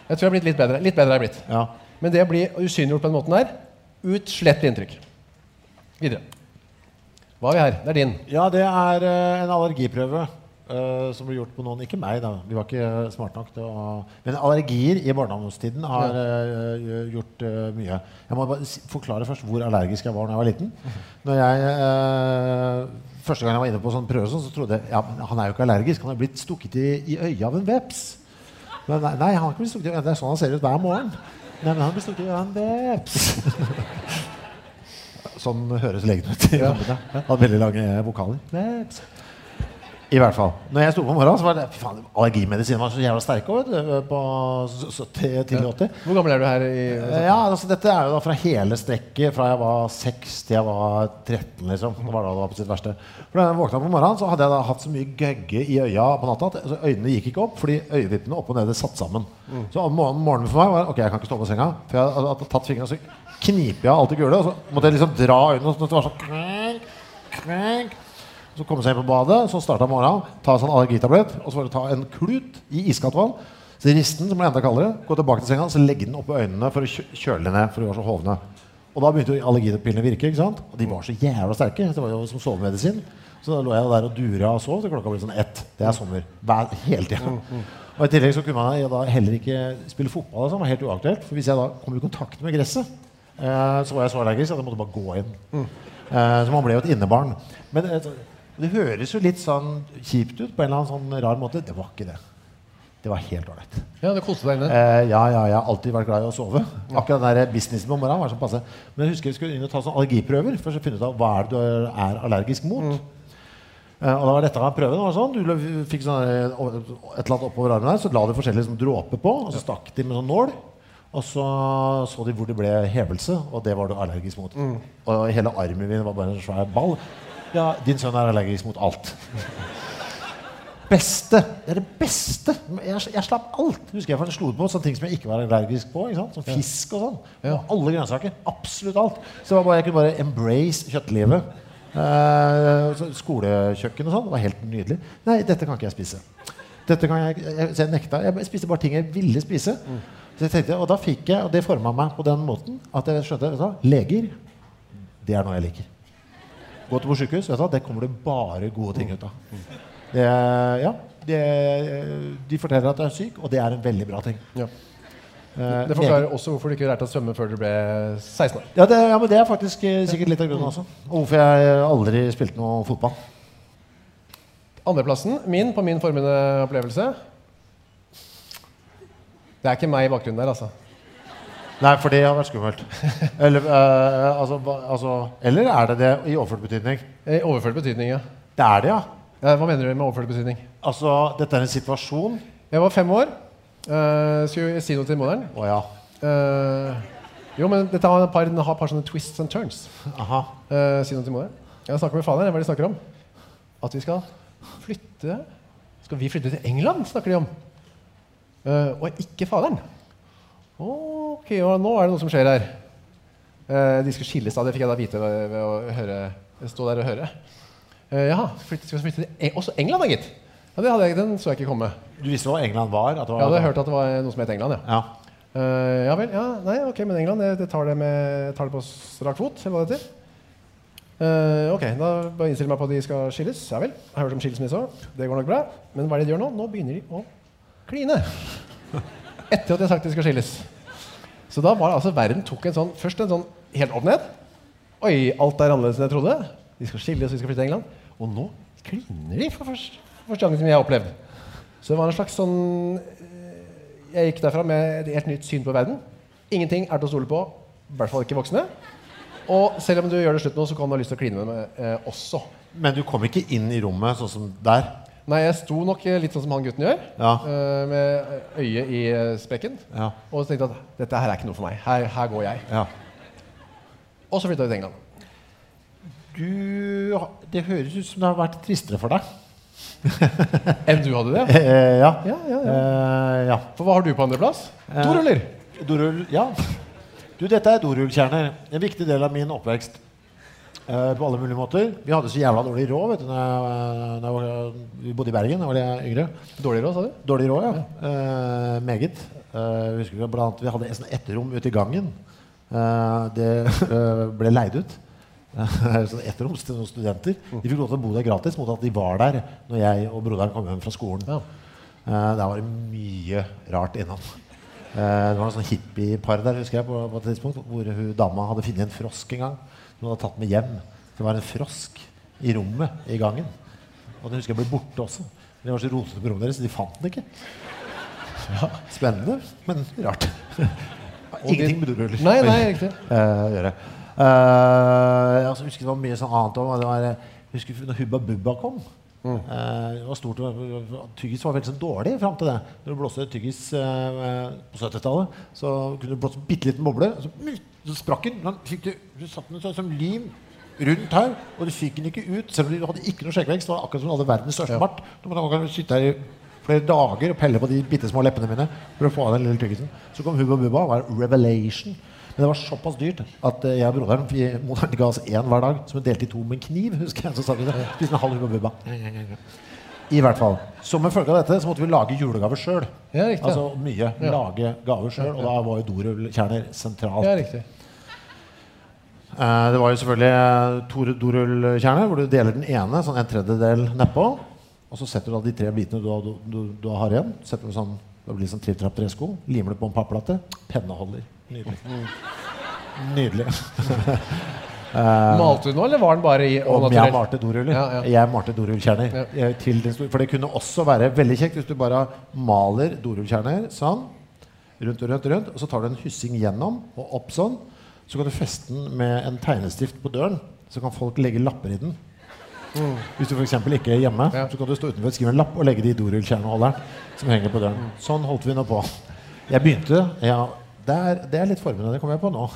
Jeg tror jeg har blitt litt bedre. Litt bedre har jeg blitt.
ja.
Men det å bli usynliggjort på den måten der utslettelig inntrykk. Videre. Hva har vi her? Det er din.
ja det er eh, en allergiprøve eh, som ble gjort på noen. Ikke meg, da. Vi var ikke eh, smart nok til å Men allergier i barndomstiden har eh, gjort eh, mye. Jeg må bare si- forklare først hvor allergisk jeg var da jeg var liten. Når jeg, eh, første gang jeg var inne på sånn prøve, sånn, så trodde jeg ja, men han er jo ikke allergisk. Han er blitt stukket i, i øyet av en veps. Men nei, nei, han har ikke blitt stukket i øyet. Det er sånn han ser ut hver morgen. Nei, men han blir stukket i øyet av en veps. sånn høres legen ut. i hodet. Hadde veldig lange vokaler. Veps. I hvert fall. Når jeg sto på morgenen, så var det fy faen, allergimedisinen var så jævla sterke vet du, på 70 til 80.
Hvor gammel er du her? I,
Eh, Ja, altså Dette er jo da fra hele strekket fra jeg var 6 til jeg var 13. liksom Det var da det var på sitt verste. For da jeg våkna på morgenen, så hadde jeg da hatt så mye gøgge i øya på natta at altså, øynene gikk ikke opp fordi øyevippene opp og nede satt sammen. Så om morgenen, morgenen for meg var ok, jeg kan ikke stå på senga. For jeg hadde- hadde tatt fingrene, så kniper jeg alt det gule, og så måtte jeg liksom dra øynene sånn at det var sånn krenk, krenk. Så komme seg inn på badet, så starta morgenen, ta en sånn allergitablett, og så var det ta en klut i iskaldt vann, så risten, som ble enda kaldere, gå tilbake til senga, så legge den oppå øynene for å kjø- kjøle dem ned, for de var så hovne. Og da begynte jo allergipillene å virke, ikke sant? Og de var så jævla sterke, det var jo som sovemedisin. Så da lå jeg der og dura og sov til klokka ble sånn ett. Det er sommer. Hver, hele tida. Og i tillegg så kunne man ja, da heller ikke spille fotball, altså. det var helt uaktuelt. For hvis jeg da kom i kontakt med gresset, Eh, så var jeg så allergisk at jeg måtte bare gå inn. Eh, så man ble jo et innebarn. Men eh, det høres jo litt sånn kjipt ut på en eller annen sånn rar måte. Det var ikke det. Det var helt ålreit.
ja, du koste deg inne.
Eh, ja, ja, jeg har alltid vært glad i å sove. Akkurat den der businessen på morgenen var sånn passe. Men jeg husker vi skulle inn og ta sånn allergiprøver for å finne ut av hva er det du er allergisk mot. Eh, og da var dette her prøven. var sånn, Du lø- fikk sånn der, eh, o- et eller annet oppover armen her, så la de forskjellige sånn dråper på, og så stakk de med sånn nål. Og så så de hvor det ble hevelse, og det var du allergisk mot. Og hele armen min var bare en svær ball. Ja, din sønn er allergisk mot alt beste. Det er det beste. Jeg, jeg slapp alt. Husker jeg for jeg slo på sånne ting som jeg ikke var allergisk på. Ikke sant? Som fisk og sånn. Og alle grønnsaker. Absolutt alt. Så det var bare, jeg kunne bare embrace kjøttlivet. Eh, så skolekjøkken og sånn. Det var helt nydelig. Nei, dette kan ikke jeg spise. Dette kan jeg, jeg, så jeg nekta. Jeg spiste bare ting jeg ville spise. Så jeg tenkte, Og da fikk jeg, og det forma meg på den måten at jeg skjønte vet du, hva, leger, det er noe jeg liker. Gå til på sykehus, vet du, hva, det kommer det bare gode ting ut av. Det, ja, det, de forteller at jeg er syk, og det er en veldig bra ting.
Ja.
Eh,
Det forklarer også hvorfor du ikke lærte å svømme før du ble 16 år.
ja, det, ja, men det er faktisk eh, sikkert litt av grunnen også. Og hvorfor jeg eh, aldri spilte noe fotball.
Andreplassen min på min formende opplevelse Det er ikke meg i bakgrunnen der, altså.
Nei, for det har vært skummelt. Eller, eh, altså, hva- altså, eller er det det i overført betydning?
I overført betydning, ja.
Det er det, ja.
ja. Hva mener du med overført betydning?
Altså, dette er en situasjon.
Jeg var fem år. eh, skulle si noe til moderen.
Å ja.
Eh, jo, men dette har et par, den har et par sånne twists and turns.
Aha.
Eh, si noe til moderen. Jeg snakker med faderen. Hva er det de snakker om? At vi skal flytte Skal vi flytte til England, snakker de om. Eh, og ikke faderen. Ok, og nå er det noe som skjer her. Eh, de skulle skilles, da. Det fikk jeg da vite ved, ved å høre, stå der og høre. Eh, ja, flytte, skal vi flytte til Eng også England, da, gitt. Ja, det hadde jeg, den så jeg ikke komme.
Du visste hva England var? At det var
Jeg hadde hørt at det var noe som het England, ja.
Ja.
Eh, ja vel, ja, nei, ok, men England, jeg, jeg, tar det med, jeg tar det på strak fot, eller hva det heter. Eh, ok, da bare innstiller jeg meg på at de skal skilles. Ja vel, jeg har hørt om skilsmisse også. Det går nok bra. Men hva er det de gjør nå? Nå begynner de å kline. Etter at jeg har sagt de skal skilles. Så da var det altså, verden tok en sånn, først en sånn helt opp ned. Oi, alt er annerledes enn jeg trodde. De skal skilles, og de skal flytte til England. Og nå kliner de for første, for første gang som jeg har opplevd. Så det var en slags sånn jeg gikk derfra med et helt nytt syn på verden. Ingenting er til å stole på. I hvert fall ikke voksne. Og selv om du gjør det slutt nå, så kan du ha lyst til å kline med meg eh, også.
Men du kom ikke inn i rommet sånn som der?
Nei, jeg sto nok eh, litt sånn som han gutten gjør,
Ja.
eh, med øyet i eh, sprekken.
Ja.
Og så tenkte jeg at dette her er ikke noe for meg. Her, her går jeg.
ja.
Og så flytta vi til England.
Du Det høres ut som det har vært tristere for deg.
Enn du hadde det?
Eh, ja.
Ja, ja, ja.
Eh, ja.
For hva har du på andreplass?
Eh.
Doruller.
Dorull, ja. Du, dette er dorullkjerner. En viktig del av min oppvekst. eh, på alle mulige måter. Vi hadde så jævla dårlig råd vet du, når jeg, eh, når jeg, var- vi bodde i Bergen. Da var jeg yngre.
Dårligere òg, sa du?
Dårlig råd, ja. Eh, meget. Eh, jeg husker vi, blant annet, vi hadde et sånt etterrom ute i gangen. Eh, det eh, ble leid ut. Eh, sånn etterrom til noen studenter. De fikk lov til å bo der gratis mot at de var der når jeg og broderen kom hjem fra skolen.
Ja.
Eh, der var det mye rart innom. Eh, det var en sånn hippiepar der husker jeg, på, på et tidspunkt, hvor hun dama hadde funnet en frosk en gang. Som hun hadde tatt med hjem. Det var en frosk i rommet i gangen. Og den husker jeg ble borte også. Men det var så rotete på rommet deres, så de fant den ikke. Spennende, men rart. Ingenting med doruller
Nei, nei, riktig.
eh, gjøre. Eh, altså, jeg husker det var mye sånn annet også, Det var, eh, jeg husker når Hubba Bubba kom.
Mm.
eh, det var stort, det var- tyggis var veldig sånn dårlig fram til det. Når du blåste tyggis eh, eh, på 70-tallet, så kunne du blåse en bitte liten boble, og så, mm, så sprakk den. Men fikk du, du satt den sånn som lim rundt her, og du fikk den ikke ut. Selv om du hadde ikke noe skjeggvekst. Det var akkurat som du hadde verdens største bart. Du måtte man kan sitte her i flere dager og pelle på de bitte små leppene mine for å få av den lille tyggisen. Så kom Hubba Bubba, var revelation. Men det var såpass dyrt at eh, jeg og broderen vi, moderne ga oss én hver dag, som vi delte i to med en kniv. husker jeg, så sa vi det. Spiste en halv Hubba Bubba. I hvert fall. Som en følge av dette så måtte vi lage julegaver sjøl.
Ja, riktig.
altså mye. Lage gaver sjøl. Og da var jo dorullkjerner sentralt.
Ja, riktig.
Eh, Det var jo selvfølgelig eh, Tore Dorull-kjerne, hvor du deler den ene, sånn en tredjedel nedpå. Og så setter du da de tre bitene du, du, du, du har igjen, setter du sånn, det blir sånn tripp-trapp-tresko, limer det på en papplate, penneholder. Nydelig. Nydelig.
Malte du nå, eller var den bare i
Eh. Om
naturell?
jeg malte doruller?
Ja, ja.
Jeg malte dorullkjerner.
Ja.
Jeg- til din stor- For det kunne også være veldig kjekt hvis du bare maler dorullkjerner sånn, rundt og rundt og rundt, og så tar du en hyssing gjennom og opp sånn. Så kan du feste den med en tegnestift på døren, så kan folk legge lapper i den. Hvis du for eksempel ikke er hjemme,
Mm. Ja.
så kan du stå utenfor og skrive en lapp og legge det i dorullkjerneholderen som henger på døren.
Mm.
Sånn holdt vi nå på. Jeg begynte ja, det, er, det er litt formende, det kommer jeg på nå.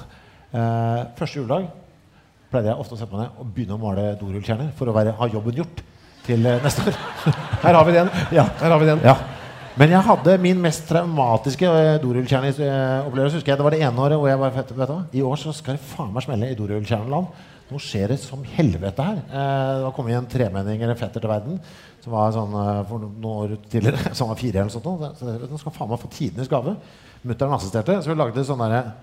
Eh, første juledag pleide jeg ofte å sette meg ned og begynne å male dorullkjerner for å være, ha jobben gjort til eh, neste år.
Her har vi den.
Ja.
Her har vi den.
Ja. Men jeg hadde min mest traumatiske eh, dorullkjerneopplevelse. husker jeg. Det var det ene året hvor jeg bare vet, vet du hva? I år så skal det faen meg smelle i dorullkjerneland. Nå skjer det som helvete her. Eh, det var kommet en tremenning eller en fetter til verden som var sånn eh, for no- noen år tidligere. Som var fire eller noe sånt. nå. Så jeg vet, Nå skal faen meg få tidenes gave. Mutter'n assisterte, så vi lagde sånn derre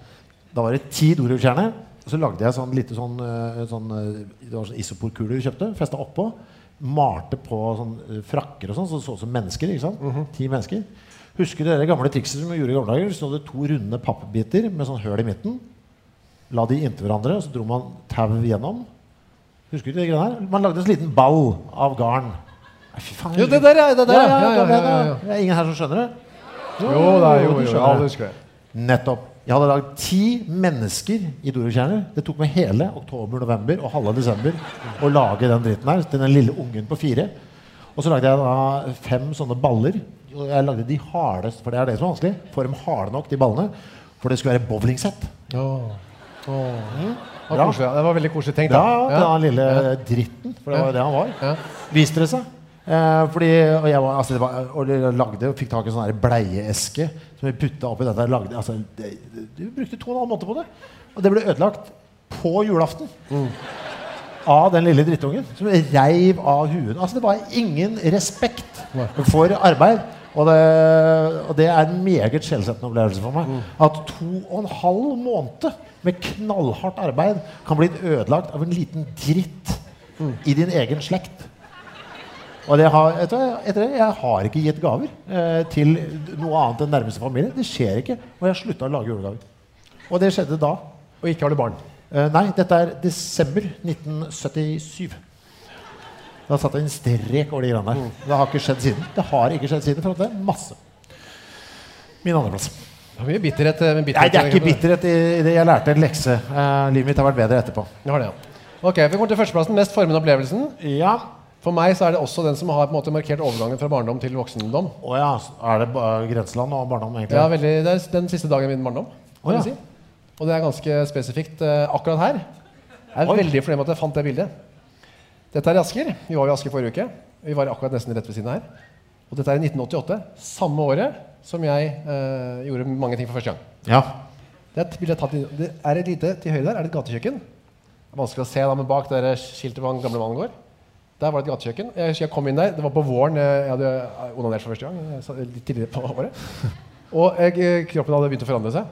da var det ti dorullkjerner. og Så lagde jeg sånn lite sånn, eh, sånn eh, Det var sånn isoporkule vi kjøpte. Festa oppå. Malte på sånn eh, frakker og sånn, så det så ut som mennesker. ikke sant?
Mhm.
Ti mennesker. Husker dere gamle trikset som vi gjorde i gamle dager? Så hadde to runde pappbiter med sånn høl i midten. La de inntil hverandre, og så dro man tau gjennom. Husker du de greiene her? Man lagde en sånn liten ball av garn. Nei, fy faen.
Jo, det der, ja. Det der,
ja, ja,
ja, ja,
det
ja,
der,
ja.
Det er ingen her som skjønner det.
Jo da, jo, jo,
du
jo.
skjønner
Alle
det.
husker det.
Nettopp. Jeg hadde lagd ti mennesker i Dorukjerner. Det tok meg hele oktober, november og halve desember å lage den dritten her til den lille ungen på fire. Og så lagde jeg da fem sånne baller. Og jeg lagde de hardeste, for det er det som er vanskelig. Få dem harde nok, de ballene. For det skulle være bowlingsett.
Åh. Åh. Det var
Bra.
koselig, ja. Det var veldig koselig tenkt.
Ja,
da.
ja, den lille dritten. For det var jo det han var.
Ja.
Viste det seg. Eh, fordi, og jeg var, altså, det var, og de lagde og fikk tak i en sånn her bleieeske som vi putta oppi dette. Lagde, altså, det, det, du brukte to og en halv måned på det. Og det ble ødelagt på julaften av den lille drittungen som reiv av huet. Altså, det var ingen respekt
Nei.
for arbeid. Og det, og det er en meget skjellsettende opplevelse for meg. At to og en halv måned med knallhardt arbeid kan bli ødelagt av en liten dritt i din egen slekt. Og det har, vet du hva, etter det, jeg har ikke gitt gaver eh, til noe annet enn nærmeste familie. Det skjer ikke. Og jeg slutta å lage julegaver. Og det skjedde da.
Og ikke har du barn.
Eh, nei, dette er desember 1977. Da satt det en strek over de greiene der. Det har ikke skjedd siden. Det har ikke skjedd siden. For at det er masse. Min andreplass.
Det var mye bitterhet. eh, bitterhet
Nei, det er
i den
ikke
kampen.
bitterhet i i det. Jeg lærte en lekse. Eh, livet mitt har vært bedre etterpå.
Det var det, ja. Ok, Vi kommer til førsteplassen. Mest formende opplevelsen.
Ja.
For meg så er det også den som har på en måte markert overgangen fra barndom til voksendom.
Å ja. s- Er det ba- grenseland og barndom, egentlig?
Ja, veldig, Det er den siste dagen i min barndom.
Å,
Kan
ja.
jeg si. Og det er ganske spesifikt eh, akkurat her. Jeg er
Oi.
veldig fornøyd med at jeg fant det bildet. Dette er i Asker. Vi var i Asker forrige uke. Vi var akkurat nesten rett ved siden av her. Og dette er i 1988. Samme året som jeg eh, gjorde mange ting for første gang.
Ja.
Det er, et bilde jeg har tatt i- det er et lite til høyre der, er det et gatekjøkken. Det er vanskelig å se da, men bak der skiltet hvor han gamle mannen går. Der var det et gatekjøkken. Jeg husker jeg kom inn der, det var på våren, eh, jeg hadde onanert for første gang. eh, så- Litt tidligere på året. Og jeg, eh, kroppen hadde begynt å forandre seg.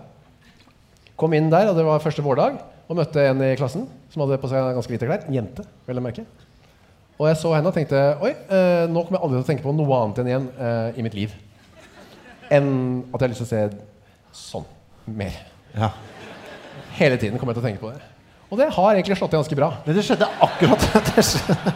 Kom inn der, og det var første vårdag, og møtte en i klassen som hadde på seg ganske hvite klær. En jente, vel å merke. Og jeg så henne og tenkte, oi, eh, nå kommer jeg aldri til å tenke på noe annet enn igjen eh, i mitt liv. Enn at jeg har lyst til å se sånn mer.
ja.
Hele tiden kommer jeg til å tenke på det. Og det har egentlig slått til ganske bra.
Men det skjedde akkurat Det skjedde,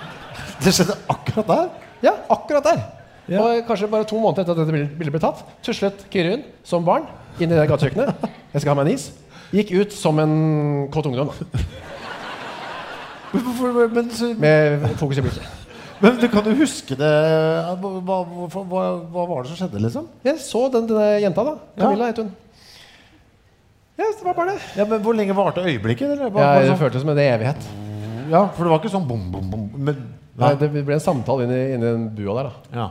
det skjedde akkurat der.
Ja, akkurat der.
Ja.
Og kanskje bare to måneder etter at dette bild- bildet ble tatt, tuslet Kyrun som barn inn i det gatekjøkkenet. Jeg skal ha meg en is. Gikk ut som en kåt ungdom, da,
Men, hvorfor- men, så-
med fokus i blikket.
men du kan jo huske det Eh, hva, hva, hvorfor- hva, hva var det som skjedde, liksom?
Jeg så den, denne jenta, da. Camilla het hun. Ja, det var bare det.
Ja, men Hvor lenge varte øyeblikket? Eller? Hva-
Ja,
hva
det
sånn?
føltes som en evighet.
ja, For det var ikke sånn bom, bom, bom men,
Nei, det ble en samtale inni, inni den bua der, da.
Ja.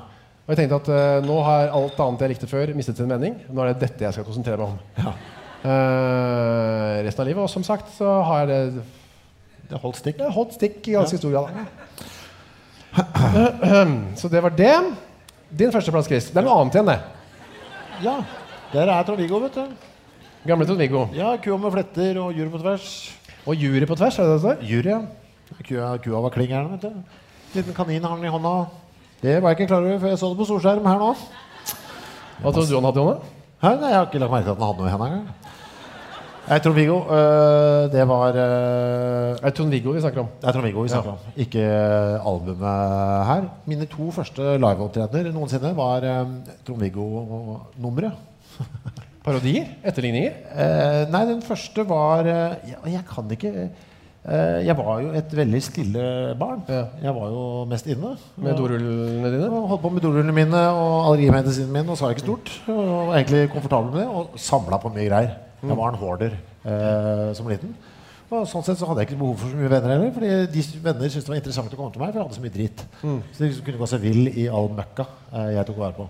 Og jeg tenkte at eh, nå har alt annet jeg likte før, mistet sin mening. Nå er det dette jeg skal konsentrere meg om.
Ja.
Eh, resten av livet. Og som sagt så har jeg det
Det holdt stikk.
jeg har holdt stikk i ganske stor grad. så det var det. Din førsteplass, Chris. Det er noe annet igjen, det.
Ja. Der er Trond-Viggo, vet du.
Gamle Trond-Viggo.
Ja, Kua med fletter og jur på tvers.
Og jury på tvers, er det det står?
Jury, ja. Kua, kua var kling gæren, vet du. Liten kanin hang i hånda. Det var jeg ikke klar over før jeg så det på storskjerm her nå.
Hva trodde du han hadde, Jonne?
Hæ? Nei, jeg har ikke lagt merke til at den hadde noe i henda engang. Jeg tror Viggo øh, Det var øh,
Er det Trond-Viggo Eh, vi snakker om?
Det er Trond-Viggo vi snakker om, ikke øh, albumet her. Mine to første liveopptredener noensinne var øh, Trond-Viggo-nummeret.
Parodier? Etterligninger?
Eh, nei, den første var eh, jeg, jeg kan ikke eh, Jeg var jo et veldig stille barn.
Ja.
Jeg var jo mest inne.
Med dorullene dine?
Og Holdt på med dorullene mine og allergimedisinen min og sa ikke stort. Og var egentlig komfortabel med det og samla på mye greier. Jeg var en hoarder eh, som liten. Og sånn sett så hadde jeg ikke behov for så mye venner heller. Fordi de s- venner syntes det var interessant å komme til meg, for jeg hadde så mye dritt. Så de liksom kunne gå seg vill i all møkka eh, jeg tok vare på.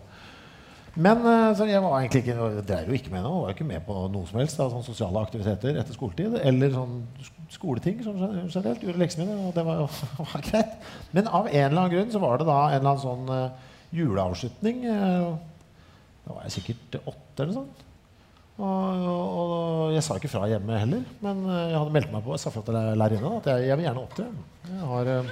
Men eh, så jeg var egentlig ikke, jeg drev jo ikke med noe. Var jo ikke med på noe som helst av sånne sosiale aktiviteter etter skoletid. Eller sånn sk- skoleting sånn gen- generelt. Gjorde leksene mine, og det var, jo- var greit. Men av en eller annen grunn så var det da en eller annen sånn eh, juleavslutning. eh, Da var jeg sikkert åtte eller noe sånt. Og, og, og jeg sa ikke fra hjemme heller, men eh, jeg hadde meldt meg på. Jeg sa fra til læ- lærerinnen at jeg, jeg vil gjerne opptre. Jeg har, eh,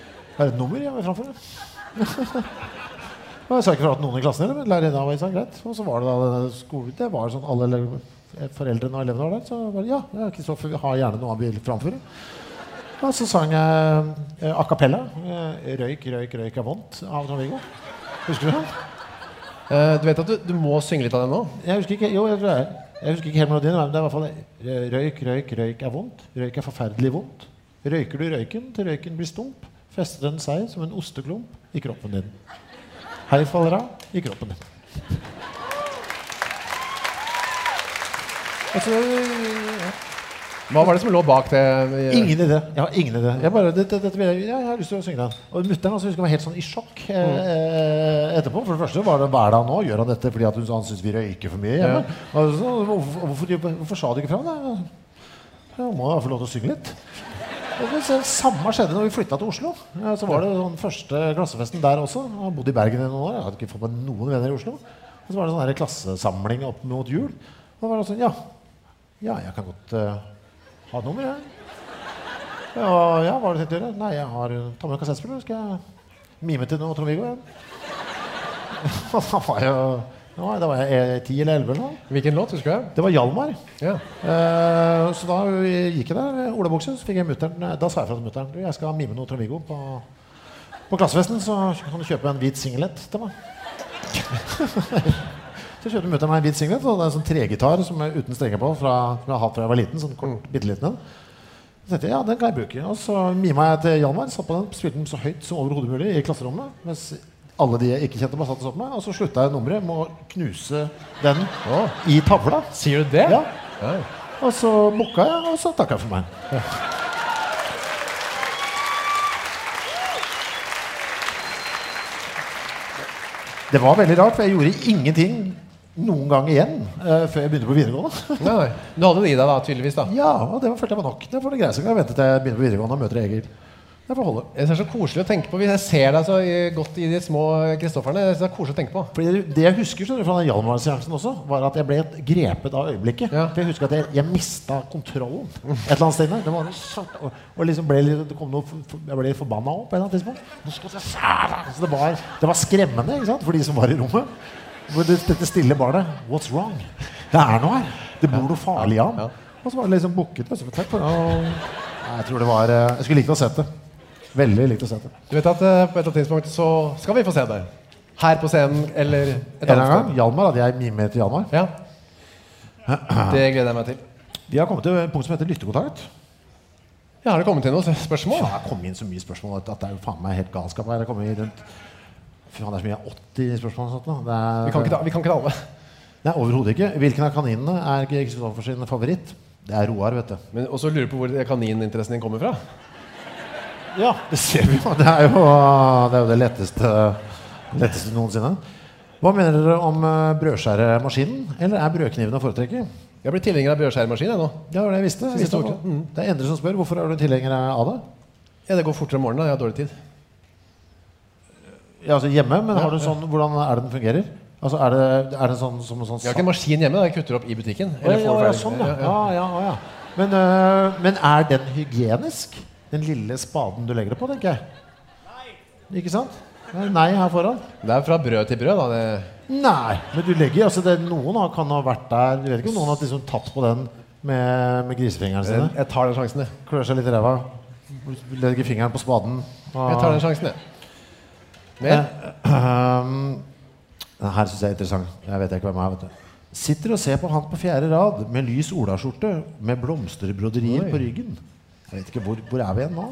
jeg har et nummer jeg vil framføre. Og jeg sa ikke fra til noen i klassen heller, men lærerinna var sa greit. Og så var det da denne skolen. Det var sånn alle elev- foreldrene og elevene var der. Så var det ja, ja, Kristoffer vi har gjerne noe han vil framføre. Og så sang jeg eh, a cappella. eh, Røyk, røyk, røyk er vondt av Trond-Viggo. Husker du den?
Eh, du vet at du, du må synge litt av den nå?
Jeg husker ikke, jo, jeg tror jeg, jeg husker ikke helt melodien, men det er i hvert fall eh, Røyk, røyk, røyk er vondt. Røyk er forferdelig vondt. Røyker du røyken til røyken blir stump, fester den seg som en osteklump i kroppen din. Hei faller av i kroppen din. Og så-
Hva var det som lå bak det?
Ingen idé. Jeg har ingen idé. Jeg, bare, dette, dette vil jeg, jeg, jeg har lyst til å synge den. Og mutter'n altså, husker jeg var helt sånn i sjokk eh, eh, etterpå. For det første var det hva er det han nå? Gjør han dette fordi at hun, han syns vi røyker for mye hjemme? Og så, hvorfor, hvorfor, hvorfor sa du ikke fra? Nei, jeg må da få lov til å synge litt. Og det selv- samme skjedde når vi flytta til Oslo. Eh, Så var det sånn første klassefesten der også. Jeg har bodd i Bergen i noen år. Jeg hadde ikke fått meg noen venner i Oslo. Og så var det sånn her klassesamling opp mot jul. Og da var det sånn Ja, ja jeg kan godt eh, ha et nummer, jeg. Ja, ja, hva har du tenkt å gjøre? Nei, jeg har eh, ta med kassettspiller. Skal jeg mime til noe Trond-Viggo? jeg?» Og da var jeg jo Da var jeg ti eller elleve eller noe.
Hvilken låt, husker jeg?
Det var Hjalmar.
Ja.
Eh, så da gikk jeg der med olabukse, så fikk jeg mutteren Da sa jeg fra til mutter'n Du, jeg skal mime noe Trond-Viggo på, på klassefesten, så kan du kjøpe en hvit singlet til meg. Så kjøpte mutter'n meg en hvit singlet. Og det er en sånn tregitar som er uten strenger på, fra, fra jeg har hatt fra jeg var liten. sånn kort, bitteliten en. Så tenkte jeg, ja, den kan jeg bruke. Og så mima jeg til Hjalmar. Satt på den, spilte den så høyt som overhodet mulig i klasserommet. Mens alle de jeg ikke kjente, bare satt og så på meg. Og så slutta jeg nummeret med å knuse den
Å.
i tavla.
Sier du det?
Ja.
Ja.
Og så booka jeg, og så takka jeg for meg. Det var veldig rart, for jeg gjorde ingenting noen gang igjen eh, før jeg begynte på videregående.
Nei, nei. Du hadde det i deg da, tydeligvis. da.
ja, og det var, følte jeg var nok. Det var det greieste jeg kan vente til jeg begynner på videregående og møter Egil. Det får holde.
Jeg synes det er så koselig å tenke på. Hvis jeg ser deg så i- godt i de små Kristofferne, jeg synes det er koselig å tenke på.
Fordi det jeg husker skjønner du, fra den Hjalmar-seansen også, var at jeg ble grepet av øyeblikket.
Ja.
For jeg husker at jeg, jeg mista kontrollen et eller annet sted. der. Det var noe svart, og, og liksom ble, litt- det kom noe, for- for- jeg ble forbanna òg på et eller annet tidspunkt. Nå skal jeg skjære deg! Så det, var, det var skremmende ikke sant? for de som var i rommet. For det, dette stille barnet What's wrong? Det er noe her. Det bor noe farlig i
Ja.
ham. Og så var det liksom bukket. og så, Takk for det. Og, Nei, jeg tror det var eh, Jeg skulle likt å sett det. Veldig likt å sett det.
Du vet at eh, på et eller annet tidspunkt så skal vi få se deg. Her på scenen eller et
En eller
annet
annen
sted.
gang, Hjalmar hadde jeg mimet til Hjalmar.
Ja. Det gleder jeg meg til.
Vi har kommet til et punkt som heter lyttekontakt.
Ja, har det kommet inn noen
Faen,
spørsmål?
det har kommet inn så mye spørsmål at, at det er jo faen meg helt galskap her. Det kommer rundt Fy faen, det er så mye 80 spørsmål og sånt nå. Det er,
Vi kan ikke ta, vi kan ikke ta alle.
Nei, overhodet ikke. Hvilken av kaninene er Kristoffer sin favoritt? Det er Roar, vet du.
Men også lurer på hvor kanininteressen din kommer fra.
Ja, det ser vi jo. Det er jo det, er jo det letteste, letteste noensinne. Hva mener dere om eh, brødskjæremaskinen? Eller er brødkniven å foretrekke?
Jeg blir tilhenger av brødskjærmaskin jeg nå.
Det var det jeg visste. Jeg
Siste
visste Mm.
ordet.
det. Det er Endre som spør. Hvorfor er du tilhenger av det?
Ja, det går fortere om morgenen, da. jeg har dårlig tid.
Ja, altså hjemme, men har du sånn, hvordan er det den fungerer? Altså, er det, er det sånn som en sånn
Jeg har ikke en maskin hjemme, da. jeg kutter opp i butikken.
Eller ja, ja,
ferdig.
sånn,
Ja,
ja.
ja.
Ja, ja, ja, ja. Men, øh, men er den hygienisk? Den lille spaden du legger det på, tenker jeg. Nei. Ikke sant? Det er Nei her foran.
Det er fra brød til brød, da. Det.
Nei, men du legger altså det, Noen har, kan ha vært der Du vet ikke om noen har liksom tatt på den med, med grisefingeren sine?
Jeg tar den sjansen, jeg.
Klør seg litt i ræva. Legger fingeren på spaden.
Jeg tar den sjansen, jeg. Mer?
Ehm, Den her syns jeg er interessant. Jeg vet ikke hvem jeg er. vet du. Sitter og ser på han på fjerde rad med lys olaskjorte med blomsterbroderier
Oi.
på ryggen. Jeg vet ikke, Hvor, hvor er vi igjen nå?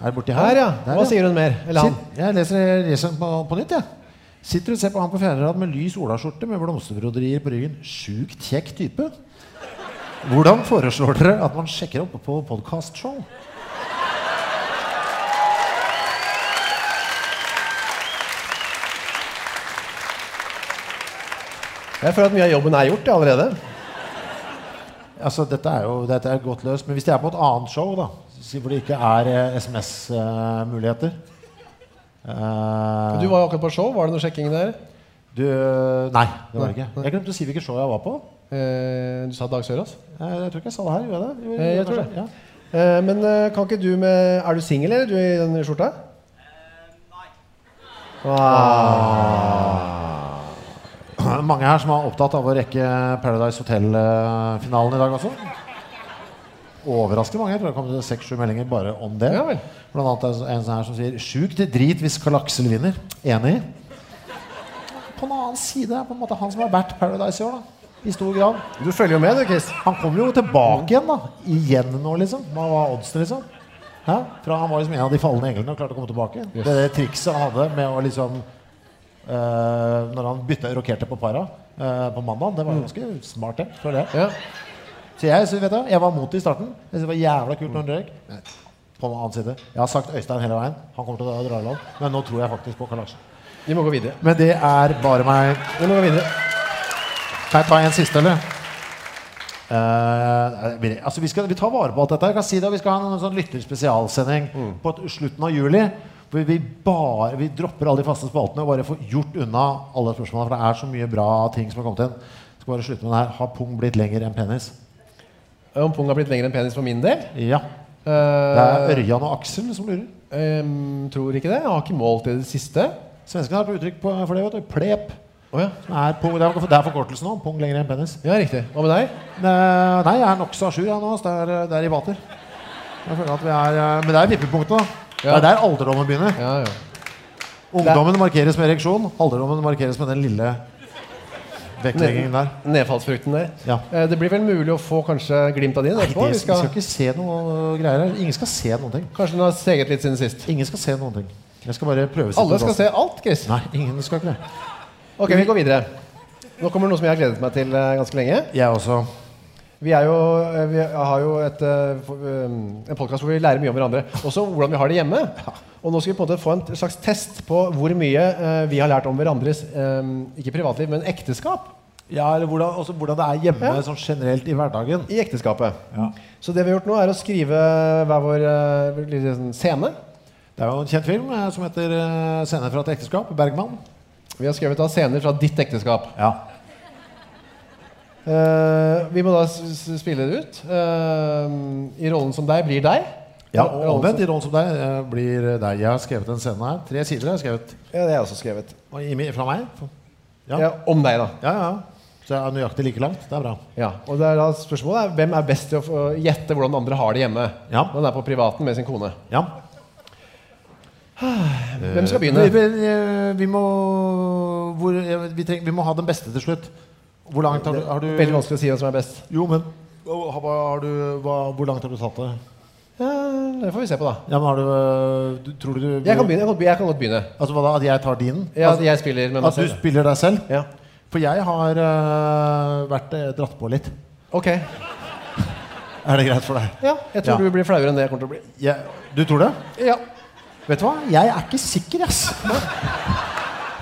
Er det borti her?
Her, ja. Hva sier hun mer? Eller han?
Sitt- Jeg leser leseren på, på nytt, jeg. Sitter og ser på han på fjerde rad med lys olaskjorte med blomsterbroderier på ryggen. Sjukt kjekk type. Hvordan foreslår dere at man sjekker opp på podkastshow?
Jeg føler at mye av jobben er gjort jeg, allerede.
Altså, dette er jo dette er godt løst, men hvis det er på et annet show, da, si hvor det ikke er eh, SMS-muligheter
Du var jo akkurat på show. Var det noe sjekking der?
Eh, du, Nei, det var det
Nei,
ikke. Jeg glemte å si hvilket show jeg var på.
Eh, Du sa Dag Sørås?
Eh, Jeg tror ikke jeg sa det her. Gjorde jeg det? Jo,
Eh, jeg tror
kanskje.
det.
Ja.
Eh, Men eh, kan ikke du med Er du singel, eller, du i den skjorta?
Mange her som er opptatt av å rekke Paradise Hotel-finalen i dag også. Overraskende mange. Jeg tror det kom seks-sju meldinger bare om det.
Ja vel.
Blant annet er det en sånn her som sier 'sjukt drit hvis Karl Aksel vinner'. Enig? På den annen side er på en måte han som har vært Paradise i år, da. I stor grad.
Du følger jo med, du, Chris.
Han kom jo tilbake igjen, da. Igjen nå, liksom. Hva var oddsen, liksom? Hæ? Fra han var liksom en av de falne englene og klarte å komme tilbake.
Yes.
Det, det trikset han hadde med å liksom eh, Når han bytta rokerte på para eh, på mandag, det var jo ganske smart, det. Tror jeg.
Ja.
Så jeg, så vet du, jeg var mot det i starten. Jeg synes det var jævla kult når han røyk. Men På den annen side. Jeg har sagt Øystein hele veien. Han kommer til å dra i land. Men nå tror jeg faktisk på Karl Larsen.
Vi må gå videre.
Men det er bare meg.
Vi må gå videre.
Kan jeg ta en siste, eller? Eh, vi- altså vi, skal, vi tar vare på alt dette. Jeg kan si det, Vi skal ha en sånn lytterspesialsending på et- slutten av juli. Hvor vi, bare, vi dropper alle de faste spaltene og bare får gjort unna alle spørsmålene. For det er så mye bra ting som har kommet inn. Jeg Skal bare slutte med den her. Har pung blitt lenger enn penis?
Eh, Om pung har blitt lengre enn penis for min del?
Ja. Det
Eh,
er Ørjan og Aksel som lurer.
em, tror ikke det. Jeg har ikke målt i det siste.
Svenskene har et uttrykk på, for det. vet du Plep.
Å ja.
Som er pung, det er det er forkortelsen nå. Pung lenger enn penis.
ja, riktig. Hva med deg?
Ne- Nei, jeg er nokså à jour jeg, nå. Så det er, det er i vater. Jeg føler at vi er, eh, men det er vippepunktet. da. Det
Ja.
er der alderdommen begynner.
Ja, ja.
Ungdommen markeres med ereksjon. Alderdommen markeres med den lille vektleggingen der.
Nedfallsfrukten der.
Ja.
Eh, Det blir vel mulig å få kanskje glimt av de
Nei, det,
etterpå?
vi
Vi
skal
skal,
ikke se noe eh, greier her. Ingen skal se noen ting.
kanskje den har steget litt siden sist.
Ingen skal se noen ting. Jeg skal bare prøve
Alle skal se alt, Chris.
Nei, ingen skal ikke det.
Ok, vi går videre. Nå kommer noe som jeg har gledet meg til eh, ganske lenge.
Jeg også.
Vi, er jo, eh, vi har jo et, eh, for- eh, en podkast hvor vi lærer mye om hverandre. Også hvordan vi har det hjemme. Og nå skal vi på en måte få en slags test på hvor mye eh, vi har lært om hverandres eh, ikke privatliv, men ekteskap
Ja, eller hvordan, også hvordan det er hjemme
Ja.
sånn generelt i hverdagen.
i ekteskapet.
Ja.
Så det vi har gjort nå, er å skrive hver vår eh, lille sånn scene.
Det er jo en kjent film eh, som heter eh, 'Scener fra et ekteskap'. Bergman.
Vi har skrevet da scener fra ditt ekteskap.
Ja.
Eh, vi må da s- s- spille det ut. Eh, I rollen som deg blir deg.
ja og
Rollen som-
omvendt i rollen som deg eh, blir deg. Jeg har skrevet en scene her. Tre sider har jeg skrevet.
Ja, det har jeg også skrevet.
Og i- Fra meg. Ja.
Ja. om deg, da.
Ja, ja. Så jeg er nøyaktig like langt. Det er bra.
Ja, og det er da spørsmålet er hvem er best til å få gjette hvordan andre har det hjemme.
Ja.
Når han er på privaten med sin kone.
Ja.
Hvem skal
Vi,
begynne?
vi, vi, må, hvor, eh, vi, treng, vi må ha den beste til slutt. Hvor langt har du, har
Veldig
du
vanskelig å si hvem som er best.
Jo, men hva- hva, har du, hva, Hvor langt har du tatt det?
Ja, det får vi se på, da.
Ja, men har du, øh, du Tror du du
Jeg kan, begynne, jeg kan, be- jeg kan godt begynne.
Altså hva da? At jeg tar din?
Ja,
altså,
jeg spiller med meg
at du
selv.
spiller deg selv?
Ja.
For jeg har øh, vært øh, dratt på litt.
Ok.
Er det greit for deg?
Ja, jeg tror
Ja.
du blir flauere enn det jeg kommer til å bli.
Jeg, du tror det?
Ja.
Vet du hva? Jeg er ikke sikker, ass.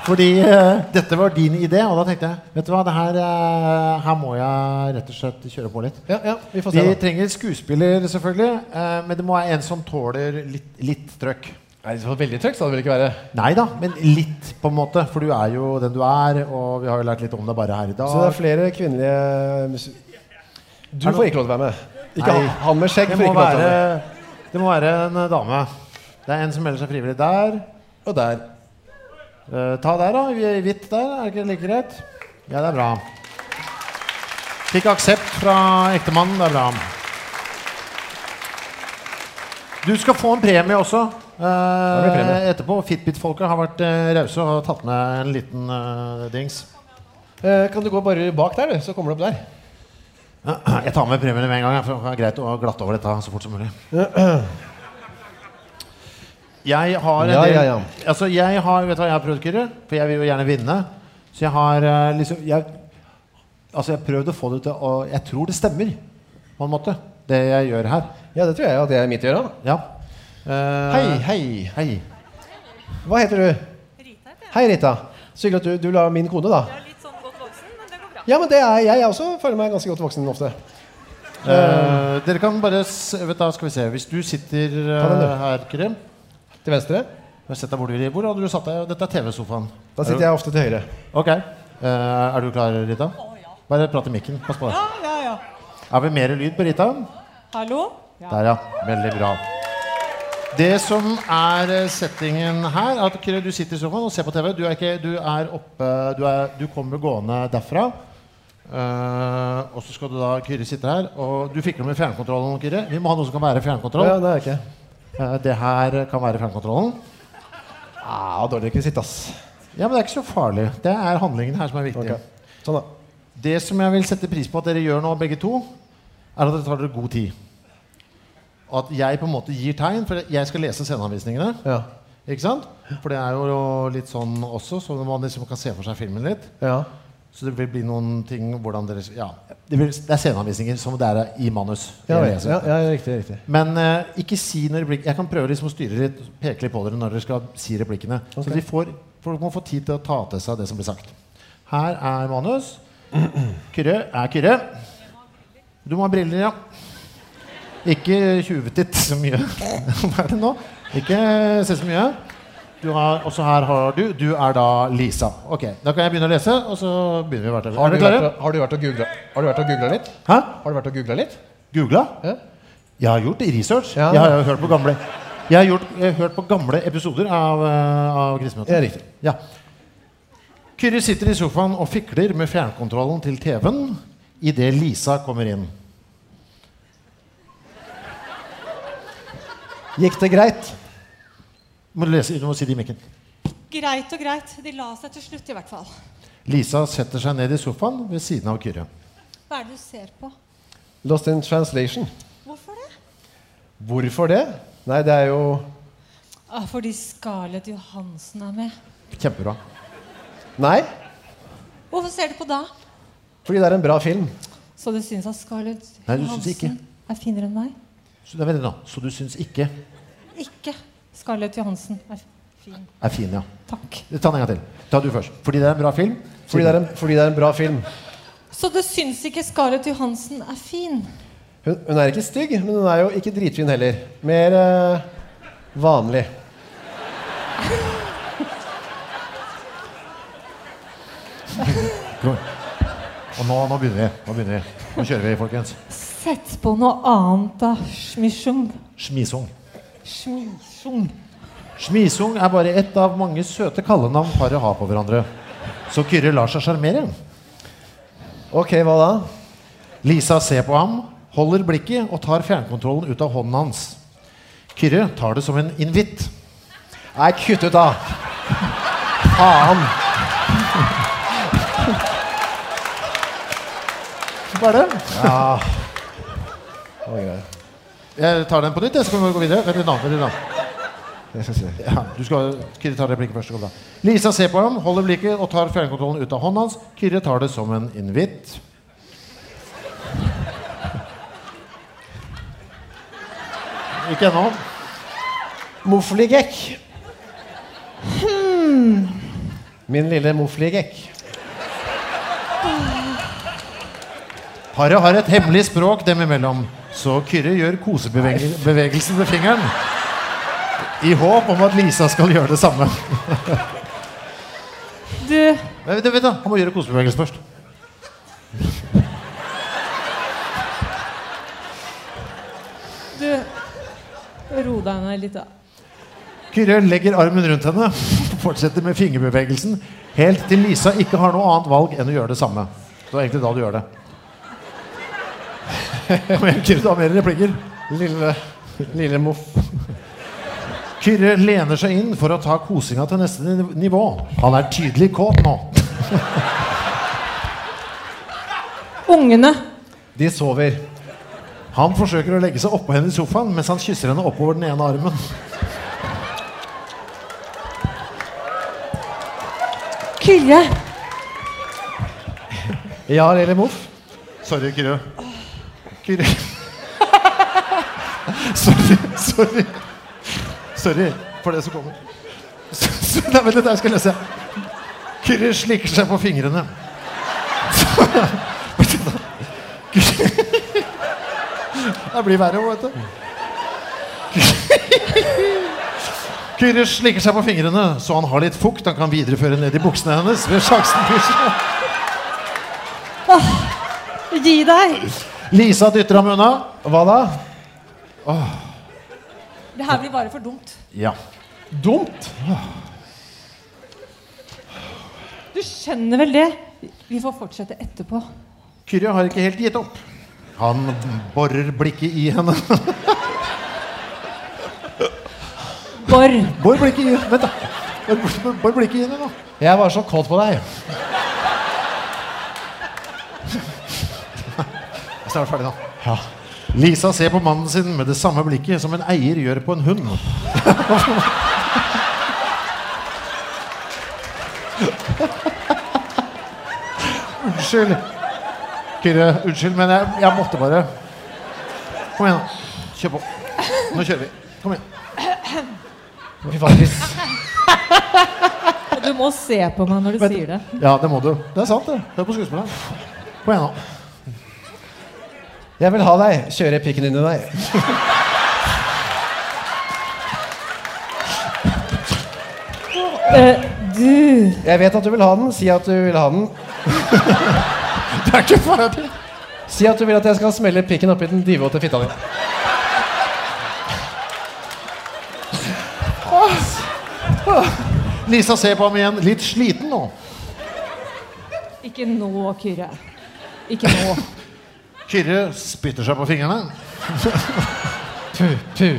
Fordi eh, dette var din idé, og da tenkte jeg Vet du hva, det her, eh, her må jeg rett og slett kjøre på litt.
Ja, ja, vi får
Vi
se. da.
trenger skuespiller, selvfølgelig, eh, men det må være en som tåler litt, litt trøkk.
Nei, det var veldig trøkk, skal det vel ikke være.
Nei da, men litt, på en måte. For du er jo den du er, og vi har jo lært litt om deg bare her
Så
i
det er
dag.
flere kvinnelige mus- Du
Er det-
får ikke lov til å være med. Ikke
Nei.
han, han med skjegg
Det
får
må,
ikke lov til å
være,
være med.
det må være en eh, dame. Det er en som melder seg frivillig der.
Og der.
Eh, ta der, da. I hvitt der. Er det ikke like greit? Ja, det er bra. Fikk aksept fra ektemannen. Det er bra. Du skal få en premie også. eh,
blir premie.
etterpå. Fitbit-folket har vært eh, rause og tatt med en liten eh, dings.
Eh, kan du gå bare bak der, du, så kommer du opp der.
Jeg tar med premiene med en gang, jeg, for det er greit å glatte over dette så fort som mulig. Jeg har en
Ja,
del
ja, ja.
Altså, jeg har Vet du hva jeg har prøvd, Kyrre? For jeg vil jo gjerne vinne. Så jeg har eh, liksom jeg, Altså, jeg har prøvd å få det til å Jeg tror det stemmer, på en måte, det jeg gjør her.
Ja, det tror jeg at det er mitt å gjøre. da.
Ja. Eh,
Hei, hei.
Hei.
Hva heter du?
Rita heter jeg.
Hei, Rita. Så hyggelig at du, du la min kone, da.
Jeg er litt sånn godt voksen, men det går bra.
Ja, men det er jeg. Jeg også føler meg ganske godt voksen ofte.
Eh, dere kan bare s- Vet du, hva, Skal vi se. Hvis du sitter eh,
Ta den, du.
her, Kyrre
Til venstre.
Sett deg bortover. Hvor hadde du satt deg? Dette er TV-sofaen.
Da sitter jeg ofte til høyre.
Ok. Eh, er du klar, Rita? Bare prat i mikken. Pass på.
Ja, ja, ja.
Er vi mer lyd på Rita?
Hallo?
Der, ja. Veldig bra. Det som er eh, settingen her, er at Kyrre, du sitter i sofaen og ser på TV. Du er, ikke, du er oppe du, er, du kommer gående derfra. Eh, og så skal du da Kyrre sitter her. Og du fikler med fjernkontrollen, Kyrre. Vi må ha noe som kan være fjernkontroll.
Ja, det er jeg ikke.
Eh, det her kan være fjernkontrollen.
Ah, dårlig rekvisitt, ass.
Ja, men det er ikke så farlig. Det er handlingen her som er viktig.
Ok. Sånn, da.
Det som jeg vil sette pris på at dere gjør nå, begge to, er at dere tar dere god tid. Og at jeg på en måte gir tegn, for jeg skal lese sceneanvisningene.
Ja.
Ikke sant? For det er jo litt sånn også, så man liksom kan se for seg filmen litt.
ja.
Så det vil bli noen ting hvordan dere Ja. Det, vil, det er sceneanvisninger som det er i manus.
Ja, ja,
jeg leser.
ja, ja, riktig. riktig.
Men eh, ikke si når replikk Jeg kan prøve liksom å styre litt, peke litt på dere når dere skal si replikkene.
Ok.
Så de får, folk må få tid til å ta til seg det som blir sagt. Her er manus. Kyrre er Kyrre. Du må ha briller, ja. Ikke tjuvetitt så mye. Hva er det nå? Ikke se så mye. Du har, også her har du. Du er da Lisa. Ok, Da kan jeg begynne å lese, og så begynner vi hvert
Har
Er
du,
dere klare?
vært, har du vært og googla- har du vært og googla litt?
Hæ?
Har du vært og googla litt?
Googla?
Ja.
Jeg har gjort research.
Ja.
Jeg har jo hørt på gamle Jeg har, gjort, jeg har hørt på gamle episoder av, eh, av Krisemøtet.
Ja, riktig.
Ja. Kyrre sitter i sofaen og fikler med fjernkontrollen til TV-en idet Lisa kommer inn.
Gikk det greit?
Må du, lese, du må si det i mikken.
Greit og greit. De la seg til slutt, i hvert fall.
Lisa setter seg ned i sofaen ved siden av Kyrre.
Hva er det du ser på?
Lost in translation.
Hvorfor det?
Hvorfor det? Nei, det er jo
Ah, fordi Scarlett Johansen er med.
Kjempebra.
Nei,
Hvorfor ser du på da?
fordi det er en bra film.
Så du syns at Scarlett
Nei, du syns ikke.
Johansen er finere enn meg?
Så, det er veldig bra. så du syns ikke
Ikke Scarlett Johansen er fin.
er fin, ja.
Takk.
Ta den en gang til. Ta du først. Fordi det er en bra film?
Fordi det er en, fordi det er en bra film.
Så du syns ikke Scarlett Johansen er fin?
Hun, hun er ikke stygg, men hun er jo ikke dritfin heller. Mer eh, vanlig.
Kom igjen. Og nå, nå begynner vi. Nå begynner vi. Nå kjører vi, folkens.
Sett på noe annet, da. Schmisjung.
Smisung.
Schmisjung.
Smisung er bare ett av mange søte kallenavn paret har på hverandre. Så Kyrre lar seg sjarmere.
Ok, hva da?
Lisa ser på ham, holder blikket og tar fjernkontrollen ut av hånden hans. Kyrre tar det som en invitt.
Nei, kutt ut, da! Faen!
Hva er det?
Det var greit.
Jeg tar den på nytt, jeg skal vi gå videre. Vent litt nå, vent litt nå.
Jeg skal se.
Ja, du skal, Kyrre tar replikken først. det går bra. Lisa ser på ham, holder blikket og tar fjernkontrollen ut av hånden hans. Kyrre tar det som en invitt. Ikke ennå.
Mofligekk. Min lille mofligekk.
Paret har et hemmelig språk dem imellom, så Kyrre gjør kosebevegelsen med fingeren. I håp om at Lisa skal gjøre det samme.
Du,
Men vent, vent da, Han må gjøre kosebevegelsen først.
du Ro deg ned litt, da.
Kyrre legger armen rundt henne og fortsetter med fingerbevegelsen helt til Lisa ikke har noe annet valg enn å gjøre det samme. Så det er egentlig da du gjør det. Kom igjen, Kyrre, du har mer replikker.
Lille, lille moff...
Kyrre lener seg inn for å ta kosinga til neste niv- nivå. Han er tydelig kåt nå.
Ungene.
De sover.
Han forsøker å legge seg oppå henne i sofaen mens han kysser henne oppover den ene armen.
Kyrre.
Ja, lille moff.
Sorry, Kyrre. Kyrre. sorry, sorry. Sorry for det som kommer. Nei, vent litt, jeg skal lese. Kyrre slikker seg på fingrene. Det blir verre, vet du. Kyrre slikker seg på fingrene, så han har litt fukt han kan videreføre ned i buksene hennes ved sjansen.
Gi deg.
Lisa dytter ham unna.
Hva da?
Det her blir bare for dumt.
Ja.
Dumt?
Du skjønner vel det? Vi får fortsette etterpå.
Kyrre har ikke helt gitt opp. Han borer blikket i henne.
Bård,
Bor blikket i Vent, da. Bor- Bor blikket i henne nå.
Jeg var så kåt på deg.
Jeg er snart ferdig nå. Lisa ser på mannen sin med det samme blikket som en eier gjør på en hund. unnskyld. Kyrre, unnskyld, men jeg, jeg måtte bare. Kom igjen, da. Kjør på. Nå kjører vi. Kom igjen.
Fy faen, Chris.
du må se på meg når du
Vent.
sier det.
Ja, det må du. Det er sant, det. Hør på skuespilleren. Kom igjen, nå.
Jeg vil ha deg. Kjøre pikken din i deg.
Eh, du
Jeg vet at du vil ha den. Si at du vil ha den.
Det er ikke ferdig.
Si at du vil at jeg skal smelle pikken oppi den divåte fitta di.
Lisa ser på ham igjen, litt sliten nå.
Ikke nå, Kyrre. Ikke nå.
Kyrre spytter seg på fingrene.
Pu, pu.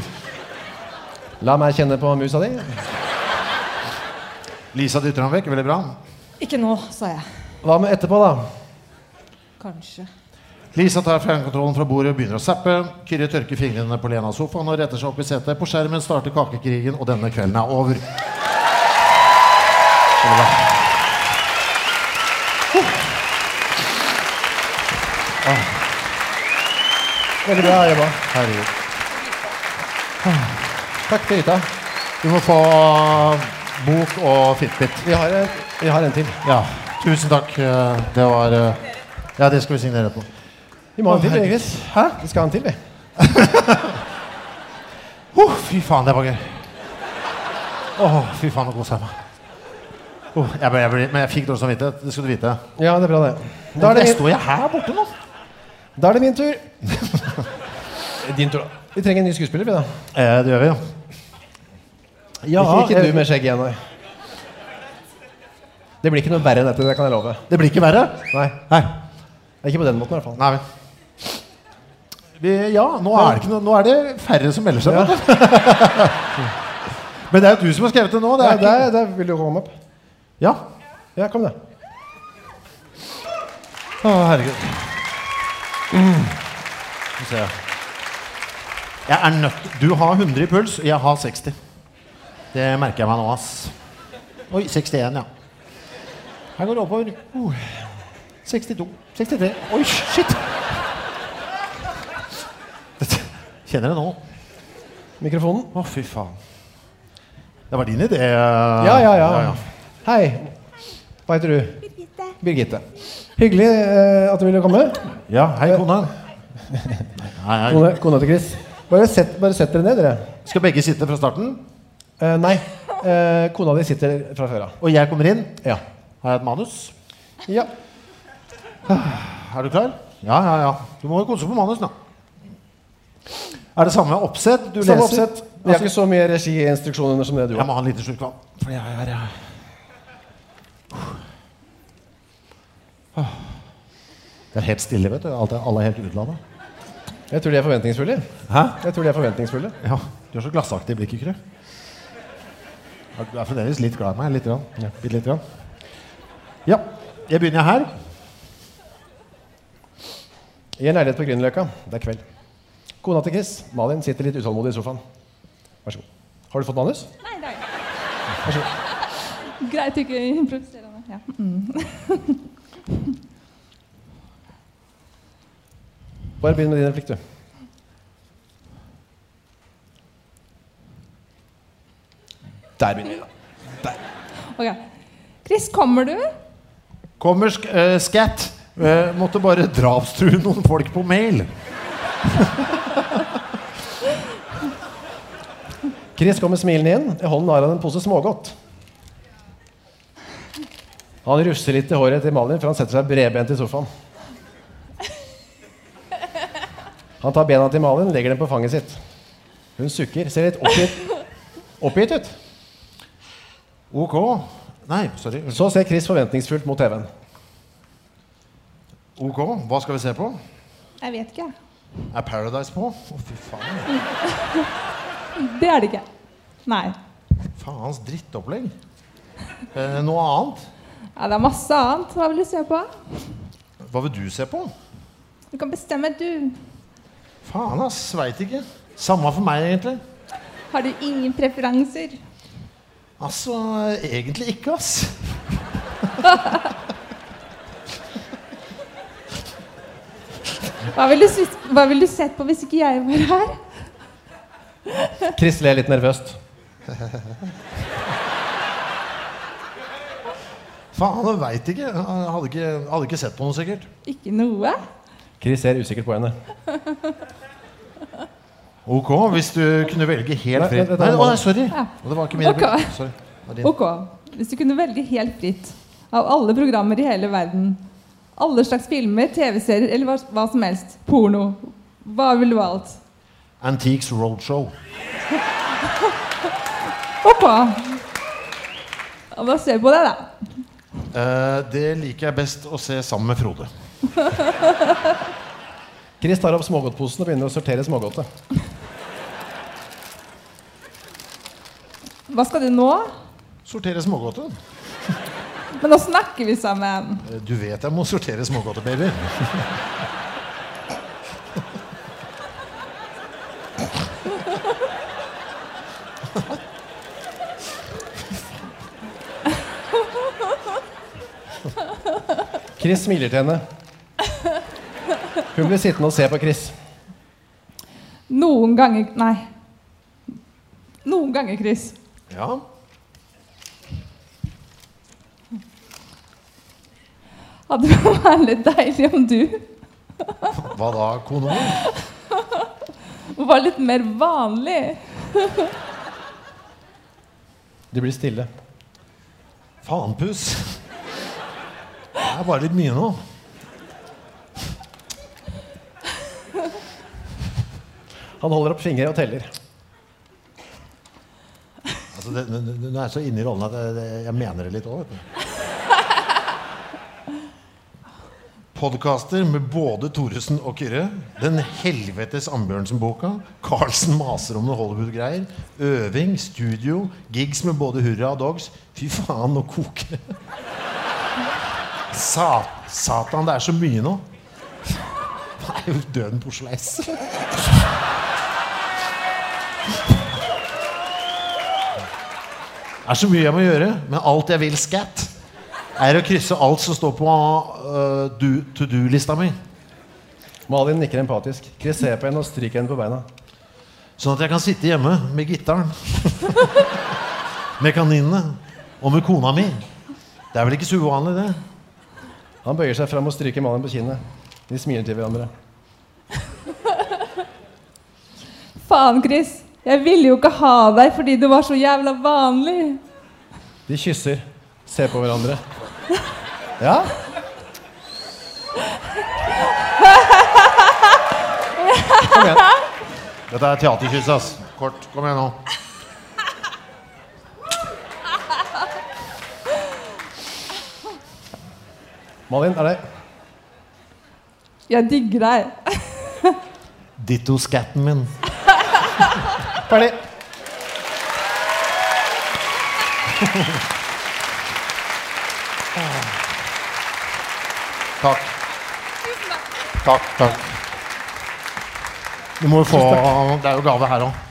La meg kjenne på musa di.
Lisa dytter ham vekk, veldig bra.
Ikke nå, sa jeg.
Hva med etterpå, da?
Kanskje.
Lisa tar fjernkontrollen fra bordet og begynner å zappe. Kyrre tørker fingrene på Lena sofaen og retter seg opp i setet. På skjermen starter kakekrigen, og denne kvelden er over.
Veldig bra jobba.
Herregud.
Takk til Rita.
Du må få bok og Fitbit.
Vi har, en- vi har en til.
Ja, tusen takk. eh, Det var eh, Ja, det skal vi signere på.
Vi må ha en til,
Å, herregud.
egentlig. Hæ? Vi skal ha en til, vi.
Oh, fy faen, det var gøy. Å, fy faen, nå koser jeg meg. Oh, jeg ble, jeg ble, men jeg fikk dårlig samvittighet. Det skal du vite.
Ja, det er bra, det. Da
Da
er det min,
står jeg her borte nå.
da er det min tur. Din tur, da. Vi trenger en ny skuespiller, vi, da.
Eh, det gjør vi, jo.
ikke, ikke
jeg-
du med skjegg igjen, nei. eh, Det blir ikke noe verre enn dette, det kan jeg love.
Det blir ikke verre.
Nei,
Nei.
Ikke på den måten, i hvert fall.
Nei vel. Vi, ja, nå er, det ikke noe, nå er det færre som melder seg. vet du. Men det er jo du som har skrevet det nå. Det
Ja,
er,
der, der vil du komme opp.
ikke- Ja.
Ja, kom, da.
Å, herregud. Mm. Skal vi se. Jeg er nødt Du har 100 i puls, jeg har 60. Det merker jeg meg nå, ass. Oi, 61, ja. Her går det oppover. Uh, 62. 63. Oi, shit! Dette kjenner jeg nå. Å,
Mikrofonen.
fy faen. Det var din idé. eh,
Ja, ja, ja. Hei. Hva heter du? Birgitte. Hyggelig eh, at du ville komme.
Ja, hei,
Eh.
kona. Hei, hei.
Kone, kona til Chris. Bare sett, bare sett dere ned, dere.
Skal begge sitte fra starten?
Eh, nei. Eh, kona di sitter fra før av.
Og jeg kommer inn.
Ja.
Har jeg et manus?
ja.
Er du klar? Ja, ja, ja. Du må jo kose på manus, da. Er det samme oppsett du
Samme
leser? Altså-
oppsett. Vi har ikke så mye regiinstruksjoner som det du
Jeg
har.
må ha en liten slurk vann. Fordi jeg er jeg... Det er helt stille, vet du. Alt er, alle er helt utlanda.
Jeg tror de er forventningsfulle.
Hæ?
Jeg tror de er forventningsfulle.
Ja. Du er så glassaktig i blikket, Kyrre. Ja, Du er fremdeles litt glad i meg. Litt. Grann.
Ja.
Bitte lite grann. Ja. Jeg begynner her.
I en leilighet på Grünerløkka. Det er kveld. Kona til Chris, Malin, sitter litt utålmodig i sofaen. Vær så god. Har du fått manus?
Nei, det er greit. Greit, ikke improviserende. Ja.
Bare begynn med din replikk, du. Der begynner vi, da.
Ok. Chris, kommer du?
Kommer sk eh, skatt. Eh, måtte bare drapstrue noen folk på mail.
Chris kommer smilende inn. I hånden har han en pose smågodt. Han russer litt i håret til Malin før han setter seg bredbent i sofaen. Han tar bena til Malin, legger dem på fanget sitt. Hun sukker, ser litt oppgitt, oppgitt ut.
Ok. Nei, sorry.
Så ser Chris forventningsfullt mot TV-en.
Ok, hva skal vi se på?
Jeg vet ikke.
Er Paradise på? Å, fy faen.
Det er det ikke. Nei.
Faens drittopplegg. Eh, noe annet?
Ja, det er masse annet. Hva vil du se på?
Hva vil du se på?
Du kan bestemme, du.
Faen, ass. Veit ikke. Samme for meg, egentlig.
Har du ingen preferanser?
Altså, egentlig ikke, ass.
Hva ville du, sys- hva ville du sett på hvis ikke jeg var her?
Chris ler litt nervøst.
Faen, jeg veit ikke. Jeg hadde ikke. Hadde ikke sett på noe, sikkert.
Ikke noe?
Chris ser usikkert på henne.
Ok, hvis du kunne velge helt
Nei,
fritt
dette er
Nei, å,
vanlig.
nei, sorry.
Ja.
Å, Det var ikke min
Ok.
replikk. Sorry. Det var din.
Ok. Hvis du kunne velge helt fritt av alle programmer i hele verden, alle slags filmer, TV-serier eller hva, hva som helst, porno, hva ville du valgt?
Antiques Roadshow.
Oppå. Hva ser vi på det, da?
Eh, det liker jeg best å se sammen med Frode.
Chris tar opp smågodtposen og begynner å sortere smågodtet.
Hva skal du nå?
Sortere smågodtet.
Men nå snakker vi sammen.
Eh, Du vet jeg må sortere smågodtebabyer.
Chris smiler til henne. Hun blir sittende og se på Chris.
Noen ganger Nei. Noen ganger, Chris.
Ja.
Hadde det vært litt deilig om du
Hva da, kone min?
var litt mer vanlig.
Du blir stille.
Faenpus. Det er bare litt mye nå.
Han holder opp fingre og teller.
Altså, det, det, det- Hun er så inne i rollen at jeg, det- jeg mener det litt òg, vet du. Podkaster med både Thoresen og Kyrre. Den helvetes Ambjørnsen-boka. Carlsen maser om noe Hollywood-greier. Øving, studio, gigs med både Hurra og Dogs. Fy faen, nå koker det. Sa, satan, det er så mye nå. Det er jo døden på Oslo S. Det er så mye jeg må gjøre, men alt jeg vil scat, er å krysse alt som står på øh, do, to do-lista mi.
Malin nikker empatisk. Chris ser på henne og stryker henne på beina.
Sånn at jeg kan sitte hjemme med gitaren, med kaninene og med kona mi. Det er vel ikke så uvanlig, det?
Han bøyer seg fram og stryker Malin på kinnet. De smiler til hverandre.
Faen, Chris. Jeg ville jo ikke ha deg fordi du var så jævla vanlig.
De kysser, ser på hverandre. Ja? Kom igjen.
Dette er teaterkyss, ass. Kort. Kom igjen nå.
Malin, er det
Jeg digger deg.
Ditto-scatten min.
ferdig?
Takk. Takk, takk. Du må jo få Det er jo gave her òg.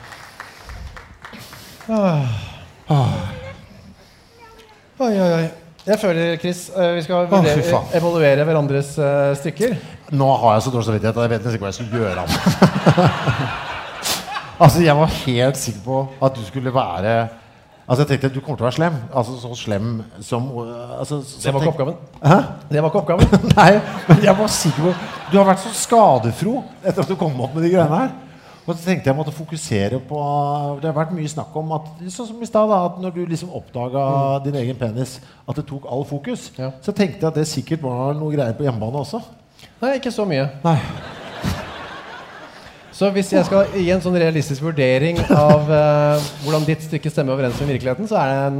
Oi, oi, oi. Jeg føler, Chris, eh, vi skal
Å, fy
vurdere,
faen.
evaluere hverandres eh, stykker.
Nå har jeg så dårlig samvittighet at jeg vet nesten ikke hva jeg skulle gjøre. av meg. altså, jeg var helt sikker på at du skulle være Altså, jeg tenkte at du kommer til å være slem. Altså, så slem som øh, altså, så
Det var ikke
tenk-
oppgaven. Det var ikke oppgaven.
Nei, men jeg var sikker på Du har vært så skadefro etter at du kom opp med de greiene her. Og så tenkte jeg måtte fokusere på Det har vært mye snakk om at Sånn som i stad, da. At når du liksom oppdaga din egen penis, at det tok all fokus,
Ja.
så tenkte jeg at det sikkert var noe greier på hjemmebane også.
Nei, ikke så mye.
Nei.
Så hvis jeg skal gi en sånn realistisk vurdering av eh, hvordan ditt stykke stemmer overens med virkeligheten, så er det en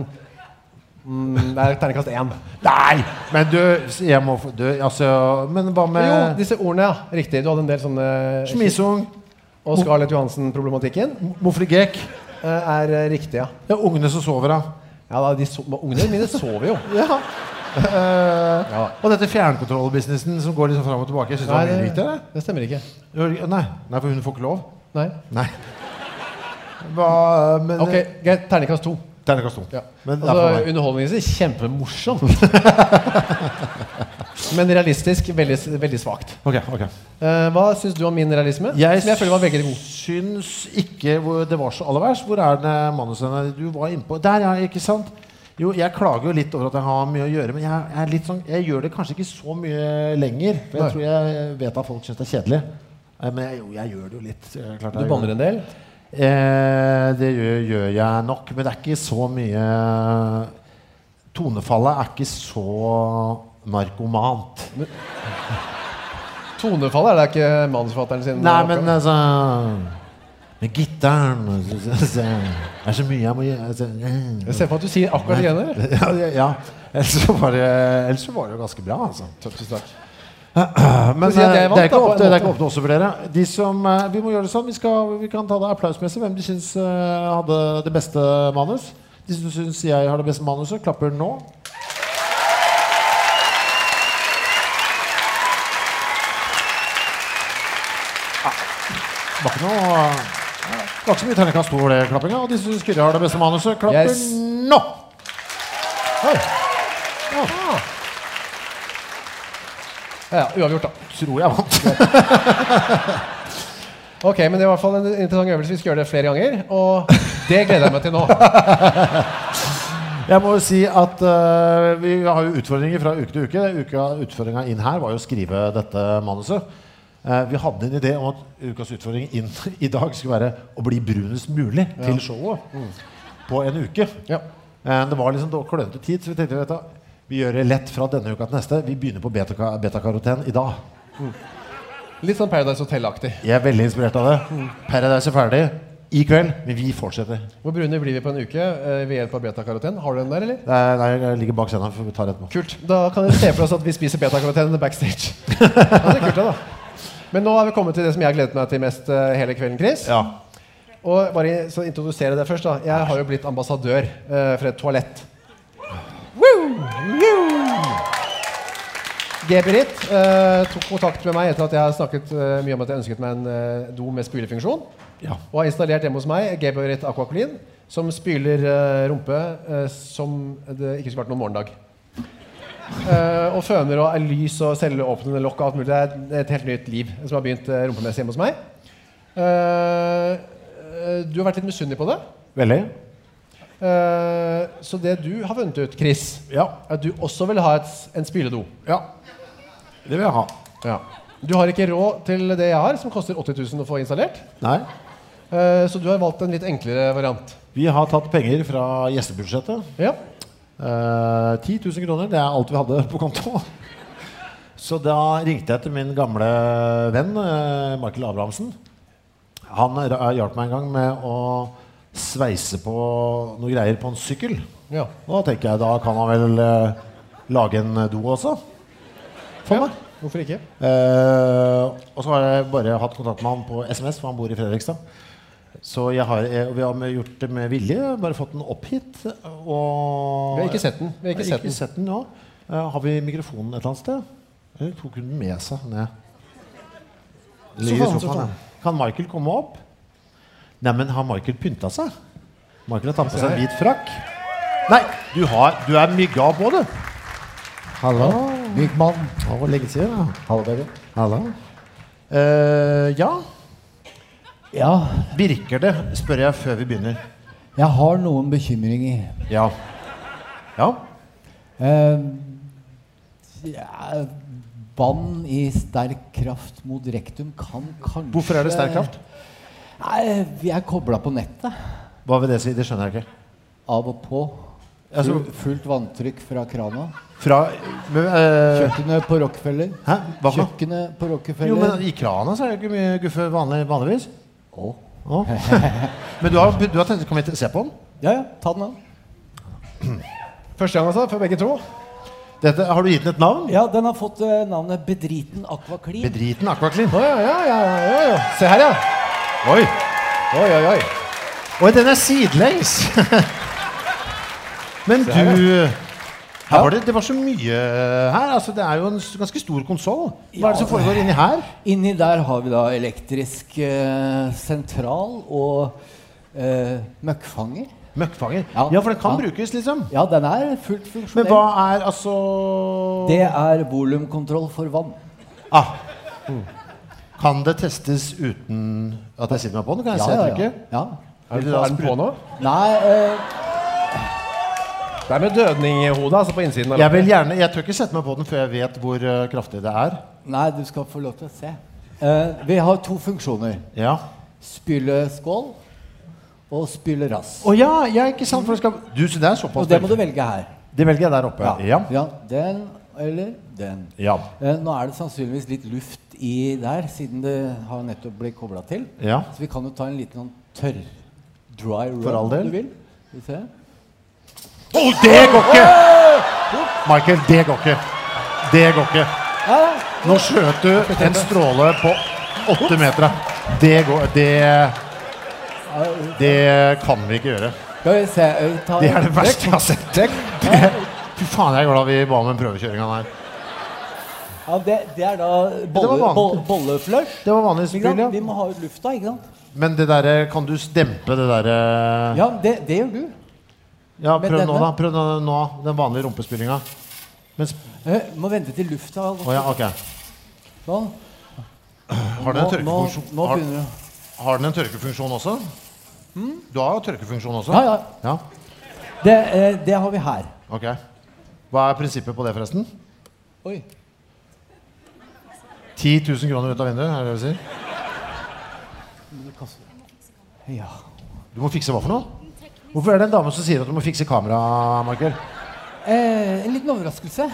mm, det er terningkast én.
Nei! Men du, jeg må få du, altså, Men hva
Jo,
med
Eh, disse ordene, ja. Riktig. Du hadde en del sånne
Smisung,
Og Scarlett Johansen-problematikken
Mofligek,
eh, er eh, riktig, ja.
ja, ungene som sover av?
Ja, da, de so Ungene mine sover jo.
Ja. Eh,
Ja.
Og dette fjernkontrollbusinessen som går liksom fram og tilbake. Jeg synes det var mye riktig, det.
det stemmer ikke.
Gjør- Nei, nei, for hun får ikke lov.
Nei.
Nei. Hva Men
Ok, greit. Terningkast to.
Terningkast to.
Ja.
Men det er for
Altså,
meg.
underholdningsvis kjempemorsomt. Men realistisk veldig, s- veldig svakt.
Ok, ok.
Eh, hva syns du om min realisme? som jeg føler var veldig god.
syns ikke hvor det var så aller verst. Hvor er det manuset hennes? du var innpå? Der, ja, ikke sant? Jo, jeg klager jo litt over at jeg har mye å gjøre, men jeg, er litt sånn, jeg gjør det kanskje ikke så mye lenger. For jeg
Nei.
tror jeg vet at folk syns det er kjedelig. Eh, Men jeg, jo, jeg gjør det jo litt. eh, Klart
Du
jeg
banner
gjør det.
en del.
Eh, det gjør, gjør jeg nok, men det er ikke så mye Tonefallet er ikke så narkomant.
Tonefallet er det ikke manusforfatteren sin.
Nei,
oppgave.
men altså Med gitaren og så- så- så- Det er så mye jeg må gjøre altså, mm.
Jeg ser for meg at du sier akkurat det igjen. eller?
ja, ja, ja. Ellers, så var det, ellers så var det jo ganske bra, altså.
Tusen takk.
Men
si at jeg
eh,
vant,
det
da,
er ikke
på
opp
en
til- det er
måte.
ikke opp til oss å vurdere. De som, eh, vi må gjøre det sånn, vi, skal, vi kan ta det applausmessig hvem de syns eh, hadde det beste manus. De som syns jeg har det beste manuset, klapper nå. Ah, Det var ikke noe eh, det var ikke så mye terningkast to over det klappinga. Og de som syns Kyrre har det beste manuset, klapper
Yes.
nå!
Oi. Ja. Ja, uavgjort, da.
Tror jeg vant.
Ok, men det var i hvert fall en interessant øvelse. Vi skal gjøre det flere ganger. Og det gleder jeg meg til nå.
Jeg må jo si at eh, vi har jo utfordringer fra uke til uke. Uka, utfordringa inn her var jo å skrive dette manuset. Eh, vi hadde en idé om at ukas utfordring inn i dag skulle være å bli brunest mulig til showet på en uke.
Ja.
Eh, det var liksom da klønete tid, så vi tenkte vet du, vi gjør det lett fra denne uka til neste. Vi begynner på betaka- betakaroten i dag.
Litt sånn Paradise Hotel-aktig.
Jeg er veldig inspirert av det. Paradise er ferdig i kveld, men vi fortsetter.
Hvor brune blir vi på en uke eh, ved hjelp av betakaroten? Har du den der, eller?
Nei, nei, jeg ligger bak scenen. for Vi tar etterpå.
Kult. Da kan dere se for oss at vi spiser betakaroten backstage. Ja, det er kult, da, da. Men nå har vi kommet til det som jeg har gledet meg til mest eh, hele kvelden, Chris.
Ja.
Og bare så introdusere det først, da. Jeg har jo blitt ambassadør eh, for et toalett. Geberit eh, tok kontakt med meg etter at jeg har snakket eh, mye om at jeg ønsket meg en eh, do med spylefunksjon.
Ja.
Og har installert hjemme hos meg Geberit Aquaclean, som spyler eh, rumpe eh, som det ikke skulle vært noen morgendag. Eh, og føner og er lys og selvåpnende lokk og alt mulig. Det er et helt nytt liv som har begynt eh, rumpemessig hjemme hos meg. Eh, eh, du har vært litt misunnelig på det.
Veldig.
Eh, så det du har funnet ut, Chris,
Ja.
er at du også vil ha et, en spyledo.
Ja. Det vil jeg ha.
Ja. Du har ikke råd til det jeg har, som koster 80 000 å få installert.
Nei.
Eh, så du har valgt en litt enklere variant.
Vi har tatt penger fra gjestebudsjettet.
Ja.
Eh, 10 000 kroner, det er alt vi hadde på konto. Så da ringte jeg til min gamle venn eh, Michael Abrahamsen. Han ra- eh, hjalp meg en gang med å sveise på noe greier på en sykkel.
ja.
Og da tenker jeg da kan han vel eh, lage en do også. For meg.
Hvorfor ikke?
Eh, og så har jeg bare hatt kontakt med han på SMS, for han bor i Fredrikstad. Så jeg har, eh, og vi har med- gjort det med vilje, bare fått den opp hit. Og
Vi har ikke sett den. Vi har ikke
Jeg har
sett den.
nå. Eh, har vi mikrofonen et eller annet sted? Eller tok hun den med seg ned? Den Ligger i
faen, så
sofaen,
faen.
ja. Kan Michael komme opp? Neimen, har Michael pynta seg? Michael har tatt på seg en hvit frakk. Nei, du, har, du er mygga på, du. Hallo, Mygmann. Å, hvor lenge siden, da. Hallo, baby. Hallo. Eh, ja,
Ja,
virker det, spør jeg før vi begynner.
jeg har noen bekymringer.
Ja. Ja?
Eh, ja, vann i sterk kraft mot rektum kan kanskje
Hvorfor er det sterk kraft?
Nei, vi er kobla på nettet.
Hva vil det si? Det skjønner jeg ikke.
Av og på.
Altså,
Full- Fullt vanntrykk fra krana.
fra men, eh,
Kjøkkenet på Rockefeller.
Hæ? Hva for noe?
Kjøkkenet på
Jo,
Rockefeller.
men i krana så er det ikke mye guffe vanlig, vanligvis.
Å.
Å. men du har, du har tenkt å komme hit og se på den?
Ja, ja. Ta den, da.
Første gang, altså, for begge to.
Dette, har du gitt den et navn?
Ja, den har fått eh, navnet Bedriten Aqua Clean.
Bedriten Aquaclean.
Å, ja, ja, ja, ja, ja, ja. Se her, ja.
Oi!
Oi, oi, oi.
Oi, den er sidelengs! men du her var det, det var så mye her. Altså, det er jo en s- ganske stor konsoll. Hva er det som
Ja.
foregår inni her?
Inni der har vi da elektrisk eh, sentral og eh, møkkfanger.
Møkkfanger. Ja,
Ja.
for den kan
Ja.
brukes, liksom.
Ja, den er fullt
Men
funksjonell.
hva er altså
Det er volumkontroll for vann.
ah. Kan det testes uten at jeg sitter meg på den? Kan jeg se
ja.
trykket?
ja.
Er den, er den på nå?
Nei eh,
Det er med dødning i hodet, altså på innsiden.
Jeg vil gjerne, jeg tør ikke sette meg på den før jeg vet hvor eh, kraftig det er.
Nei, du skal få lov til å se. Eh, vi har to funksjoner.
Ja.
Spyleskål og spylerass.
Å ja, ja, ikke sant? For det skal, du, så det er såpass
Og det må du velge her.
Det velger jeg der oppe. Ja.
ja den eller den.
Ja.
Eh, nå er det sannsynligvis litt luft i der, siden det har nettopp blitt kobla til.
ja.
Så vi kan jo ta en liten sånn tørr dry run
For all del.
om du vil. Skal vi se.
Å, det går ikke! Michael, det går ikke. Det går ikke. Nå skjøt du en stråle på åtte meter. Det går Det Det kan vi ikke gjøre.
Skal vi se eh, ta
Det er det verste jeg har sett.
Sjekk.
Fy faen, jeg er glad vi ba om en prøvekjøring av den her.
Ja, det, det er da
var
bolle,
vanlig.
boll, bolleflush.
Det var vanlig
Ikke sant?
spill, ja.
Vi må ha ut lufta, ikke sant?
Men det derre Kan du dempe det eh, derre
Ja, det, det gjør du.
Ja,
men
prøv nå,
denne-
da. Prøv nå, nå den vanlige rumpespillinga. Mens
Eh, må vente til lufta har gått
Å ja, ok.
sånn.
Har den en
nå,
tørkefunksjon?
nå
Har,
begynner du.
har den en tørkefunksjon også? Du har jo tørkefunksjon også?
Ja, ja.
Ja,
Det, eh, det har vi her.
ok. Hva er prinsippet på det, forresten?
Oi.
10 000 kroner ut av vinduet, er det det du sier?
Ja.
Du må fikse hva for noe? Hvorfor er det en dame som sier at du må fikse kamera, Michael?
Eh, en liten overraskelse.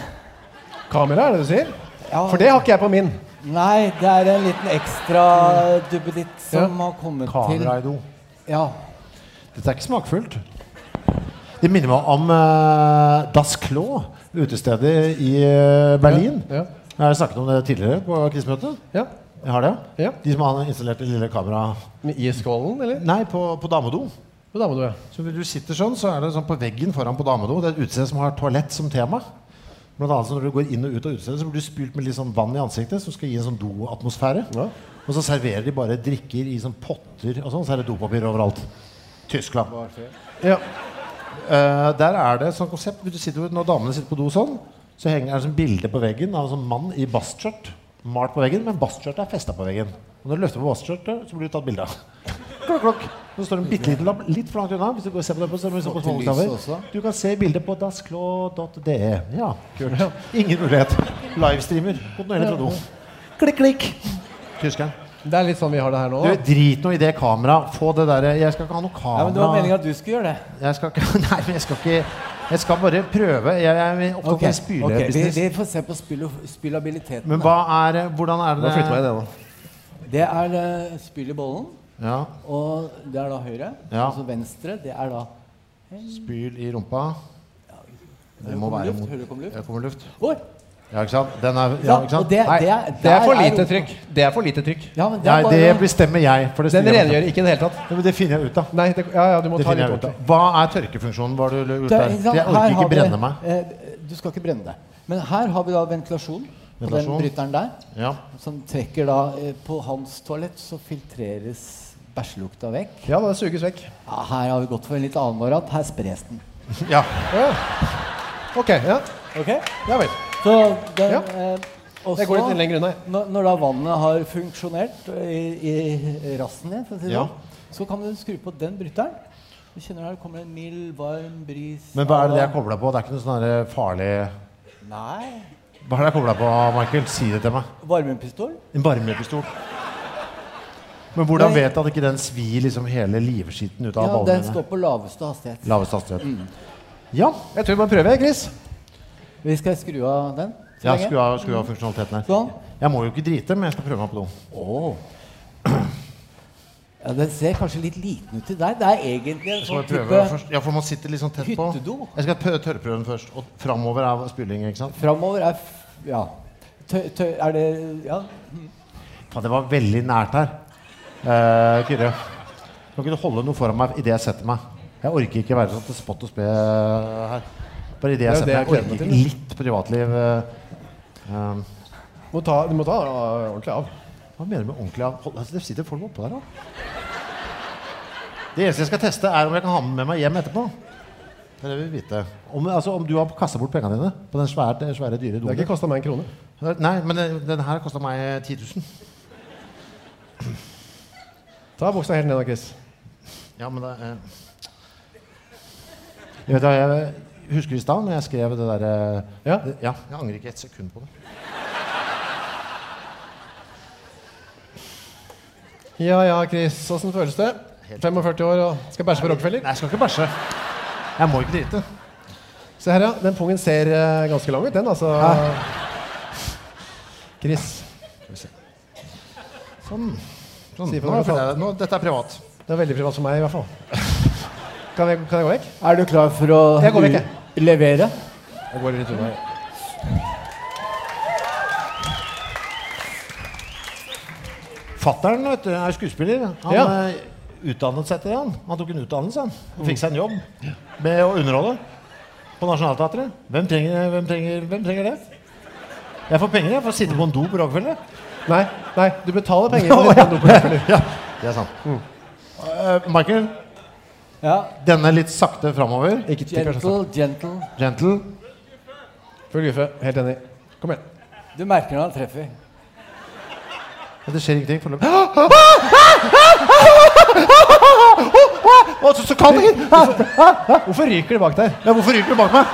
Kamera, er det du sier?
Ja.
For det har ikke jeg på min.
Nei, det er en liten ekstra duppeditt som
Ja.
har kommet
Kamera i do.
til. Ja.
Dette er ikke smakfullt. Det minner meg om eh, Das Klo, utestedet i eh, Berlin.
Ja, ja.
Jeg har snakket om det tidligere på krisemøtet.
Ja.
Jeg har det,
Ja.
De som har installert det lille kameraet
Med I skålen, eller?
Nei, på, på damedo.
På damedo, ja.
Så hvis du sitter sånn, så er det sånn på veggen foran på damedo. Det er et utested som har toalett som tema. Blant annet så når du går inn og ut av utestedet, så blir du spylt med litt sånn vann i ansiktet, som skal gi en sånn doatmosfære.
Ja.
Og så serverer de bare drikker i sånn potter og sånn, så er det dopapir overalt. Tyskland.
ja.
Eh, der er det sånn konsept. Du sitter, jo- når damene sitter på do sånn, så henger, er det sånn bilde på veggen av en sånn mann i bastskjørt. Malt på veggen, men bastskjørtet er festa på veggen. Og når du løfter på bastskjørtet, så blir du tatt bilde av. Klokk, klokk. Så står det en bitte liten lapp litt for langt unna. Hvis du går og ser på den, så ser du på
Og til
små
lyset
bokstaver.
også.
Du kan se bildet på dasklå.de. Ja, kult. Ingen mulighet. Livestreamer. Kontinuerlig fra do. Klikk, klikk. Tyskeren.
Det er litt sånn vi har det her nå.
Du,
da.
drit nå i det kameraet. Få det derre Jeg skal ikke ha noe kamera.
ja, men Det var meninga at du skulle gjøre det.
Jeg skal ikke Nei, men jeg skal ikke Jeg skal bare prøve. Jeg, jeg er opptatt av
ok, vi,
spylebusiness.
vi får se på spill, spillabiliteten.
Men hva er Hvordan er
Nå
det
flytter jeg meg i det, da.
Det er eh, spill i bollen,
Ja.
og det er da høyre.
Ja.
Og så venstre, det er da
Spyl i rumpa. Det må
kommer
være
luft,
mot
høyre kommer luft.
Det kommer luft.
Oi!
Ja, ikke sant? Den er Ja, ikke sant?
Og det,
Nei,
det, er,
det er for
der
lite trykk. Det er for lite trykk.
Ja, men det
Nei,
er bare
det bestemmer jeg. For det
Den
stiller jeg meg
rengjør ikke i det hele tatt.
til. Ja, men det finner jeg ut av.
Nei, det, ja, ja, du må
Det
ta
finner
litt
jeg ut av.
ordentlig.
Hva er tørkefunksjonen? Var du ute
Det er-
der?
sant,
Jeg
her
orker
har
ikke
vi-
brenne meg.
eh, du skal ikke brenne deg. Men her har vi da ventilasjon på den
Ventilasjon.
bryteren der.
Ja.
Som trekker da eh, På hans toalett så filtreres bæsjelukta vekk.
Ja, det suges vekk.
Ja, her har vi gått for en litt annen variant. Her spres den.
ja.
Ok, ja.
Ok?
Ja vel.
Så den,
Ja.
eh, og
Jeg går
så-
litt lenger unna. jeg.
Når, når da vannet har funksjonert i, i rassen din, for å si det
Ja.
sånn, så kan du skru på den bryteren. Du kjenner her kommer det en mild, varm bris
Men hva er det jeg kobla på? Det er ikke noe sånn der farlig
Nei.
Hva er det jeg kobla på, Michael? Si det til meg.
Varmepistol?
En varmepistol. Men hvordan
Nei.
vet du at ikke den svir liksom hele livskitten ut av
Ja, den
ballene
står Mm.
dine?
på laveste hastighet.
Lavest hastighet. Ja.
Jeg tror vi må prøve, Chris.
Vi skal skru av den. så
Jeg
lenge.
skulle ha, skulle ha funksjonaliteten her.
Sånn.
Jeg må jo ikke drite, men jeg skal prøve meg på do.
Ja, den ser kanskje litt liten ut til deg. Det er egentlig en
Jeg skal
sånn
bare prøve
type
først. Ja, for man sitter litt sånn tett på.
hyttedo.
Jeg skal prøve tørrprøven først. Og framover er spyling, ikke sant?
Framover er f Ja. Tø, tø, er det Ja.
Faen, det var veldig nært her. Eh, Kyrre, kan ikke du holde noe foran meg idet jeg setter meg? Jeg orker ikke være sånn til spott og spe eh, her. Bare idet
Det er jo det
jeg setter meg.
jeg gleder
Jeg
meg
orker
til.
ikke litt privatliv. eh. Um,
Du må ta, du må ta ah, ordentlig av.
Hva mener du med ordentlig av? Hold, altså, det sitter folk oppå der, da. Det eneste jeg skal teste, er om jeg kan ha den med meg hjem etterpå. Det er det vi vil vite. Om, altså, om du har kasta bort pengene dine på den svære, den svære dyre
Det har
doen.
ikke kosta meg en krone.
Nei, men den, den her kosta meg 10 000.
Ta buksa helt ned da, Chris.
Ja, men det eh. jeg, vet, hva, jeg husker i stad når jeg skrev det derre
Ja.
ja, Jeg angrer ikke et sekund på det.
Ja ja, Chris. Åssen føles det? 45 år og skal bæsje på Rockefeller?
Nei, jeg skal ikke bæsje. Jeg må ikke drite.
Se her, ja. Den pungen ser eh, ganske lang ut, den, altså. Chris.
Sånn. sånn.
Si fra
Nå,
når du
føler jeg det. nå, dette er privat.
Det er veldig privat for meg, i hvert fall. Kan jeg, kan jeg gå vekk?
Er du klar for å
Jeg går vekk, jeg.
u- levere?
Jeg går litt unna. jeg.
Fatteren vet du, er skuespiller. Han
Ja.
eh, utdannet seg til det. Han. han tok en utdannelse han. og fikk seg en jobb med å underholde på Nationaltheatret. Hvem trenger, hvem trenger, hvem trenger det? Jeg får penger jeg for å sitte på en do på Rockefeller.
Nei, nei, du betaler penger. for å sitte på en do på Rockefeller.
Ja, det er sant. Mm. Eh, Michael,
Ja.
denne litt sakte framover.
Ikke tikk, kanskje,
Gentle, gentle.
Gentle.
så. Full guffe. Helt enig. Kom igjen.
Du merker når han treffer.
Men det skjer ingenting foreløpig. Å, så- så kaldt det er!
Hvorfor ryker det bak der?
Ja, Hvorfor ryker det bak meg?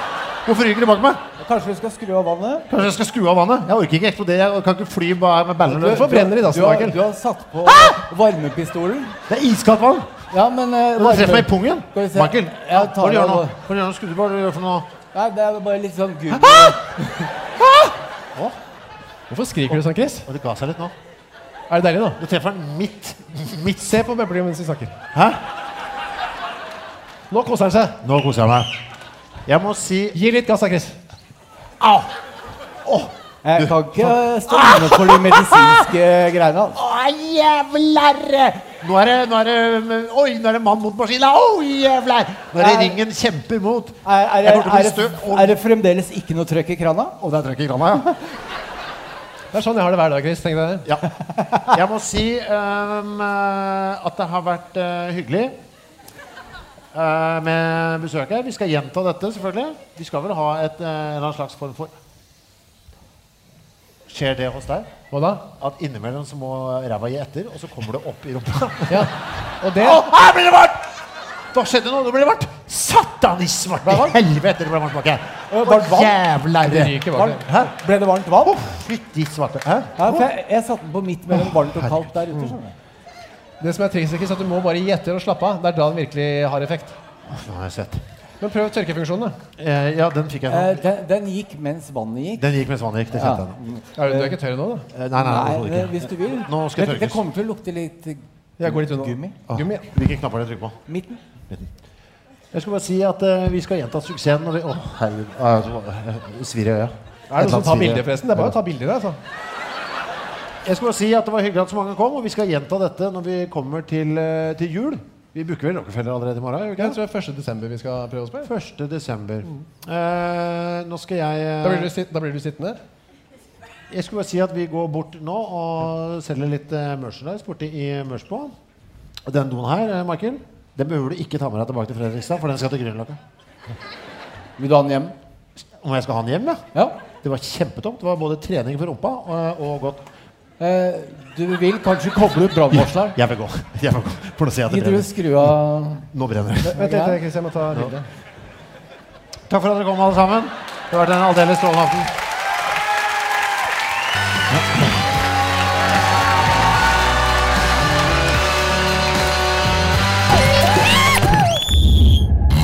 Hvorfor ryker det bak meg?
Kanskje vi skal skru av vannet?
Kanskje jeg skal skru av vannet? Jeg orker ikke eksplodere. Jeg kan ikke fly bare med ballene.
Hvorfor brenner det i
Du
dassen,
har,
Michael?
du har satt på varmepistolen.
Det er iskaldt vann!
Ja, men eh,
Det treffer meg
varme-
i pungen.
Skal vi se.
Michael, hva
Jeg
er det
tar
du gjør
det
nå?
av-
Hva er det du gjør nå? Skuddet, Hva er det du gjør for noe?
Nei, det er bare litt sånn gummi.
Hvorfor skriker du sånn, Chris?
Å, det ga seg litt nå.
Er det deilig nå?
Du treffer den midt. midt.
Se på Bebling mens vi snakker.
Hæ?
Nå koser han seg.
Nå koser jeg meg. Jeg må si
Gi litt gass da, Chris.
Au!
Jeg kan ikke stå inne for de medisinske greiene. altså.
Å, jævlar! Nå er det, nå er det Oi, nå er det mann mot maskina. Å, jævlar! Nå er det
Nei.
ringen kjemper mot.
Er, er,
Jeg
er,
kommer til å bli
er, det,
stø- og-
er det fremdeles ikke noe trøkk i krana?
Å, der trøkk i krana, ja.
Det er sånn jeg har det hver dag, Chris. Tenk deg det.
ja. Jeg må si ehm, eh, at det har vært eh, hyggelig eh, med besøk her. Vi skal gjenta dette, selvfølgelig. Vi skal vel ha et, eh, en eller annen slags form for Skjer det hos deg?
Hva da?
At innimellom så må ræva gi etter, og så kommer det opp i rumpa.
Ja. Og det
Å, her blir det varmt! Hva skjedde nå? Nå ble det varmt. Satan i svarte helvete, det ble varmt bak her.
var
Å,
det varmt?
Jævla
Det ryker bak der.
Hæ?
Ble det varmt vann?
Fytti svarte. Hæ?
Ja, for jeg, jeg satte den på midt mellom varmt og kaldt der ute. skjønner du.
Det som er trikset, Chris, er at du må bare gi etter og slappe av. Det er da den virkelig har effekt.
Å, Nå har jeg sett.
Men prøv tørkefunksjonen, da.
Eh, ja, den fikk jeg
Eh,
nå.
den, den gikk mens vannet gikk.
Den gikk mens vannet gikk. Det
Ja.
kjente jeg
Er
nå.
du, du er ikke tørr nå, da?
Eh, Nei, nei,
Nei,
overhodet
eh,
ikke.
hvis du vil.
Nå skal jeg
det, det
tørkes.
kommer til å lukte litt eh,
Jeg går litt unna. Ah.
gummi.
Åh,
Gummi, ja.
Hvilke knapper er det jeg trykker på?
Midten.
Jeg skulle bare si at eh, vi skal gjenta suksessen når vi Å, herregud. Uh, svir i øyet.
Er det noen som tar bilder,
forresten?
forresten? Det er bare å ta bilder der, altså.
Jeg skulle bare si at det var hyggelig at så mange kom, og vi skal gjenta dette når vi kommer til, eh, til jul. Vi booker vel Rockefeller allerede i morgen? gjør vi ikke
Jeg
det?
tror det er 1. desember vi skal prøve oss på. ja.
1. desember. Eh, nå skal jeg
Mm. Da blir
eh,
du, sitt, da blir du sittende.
Jeg skulle bare si at vi går bort nå og selger litt eh, merchandise borti i Mørsbo. Og Den doen her, eh, Michael, den behøver du ikke ta med deg tilbake til Fredrikstad, for den skal til Grünerløkka.
Vil du ha den hjem?
Om jeg skal ha den hjem, ja?
Ja.
Det var kjempetomt. Det var både trening for rumpa og, og godt.
Eh, du vil kanskje koble ut brannvarsleren?
Jeg vil gå. Jeg vil gå. For nå ser jeg at det
Gidder du å
brenner.
skru av
Nå brenner det.
Vent litt, Chris, jeg må ta bilde.
Takk for at dere kom, alle sammen. Det har vært en aldeles strålende aften.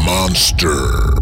Monster.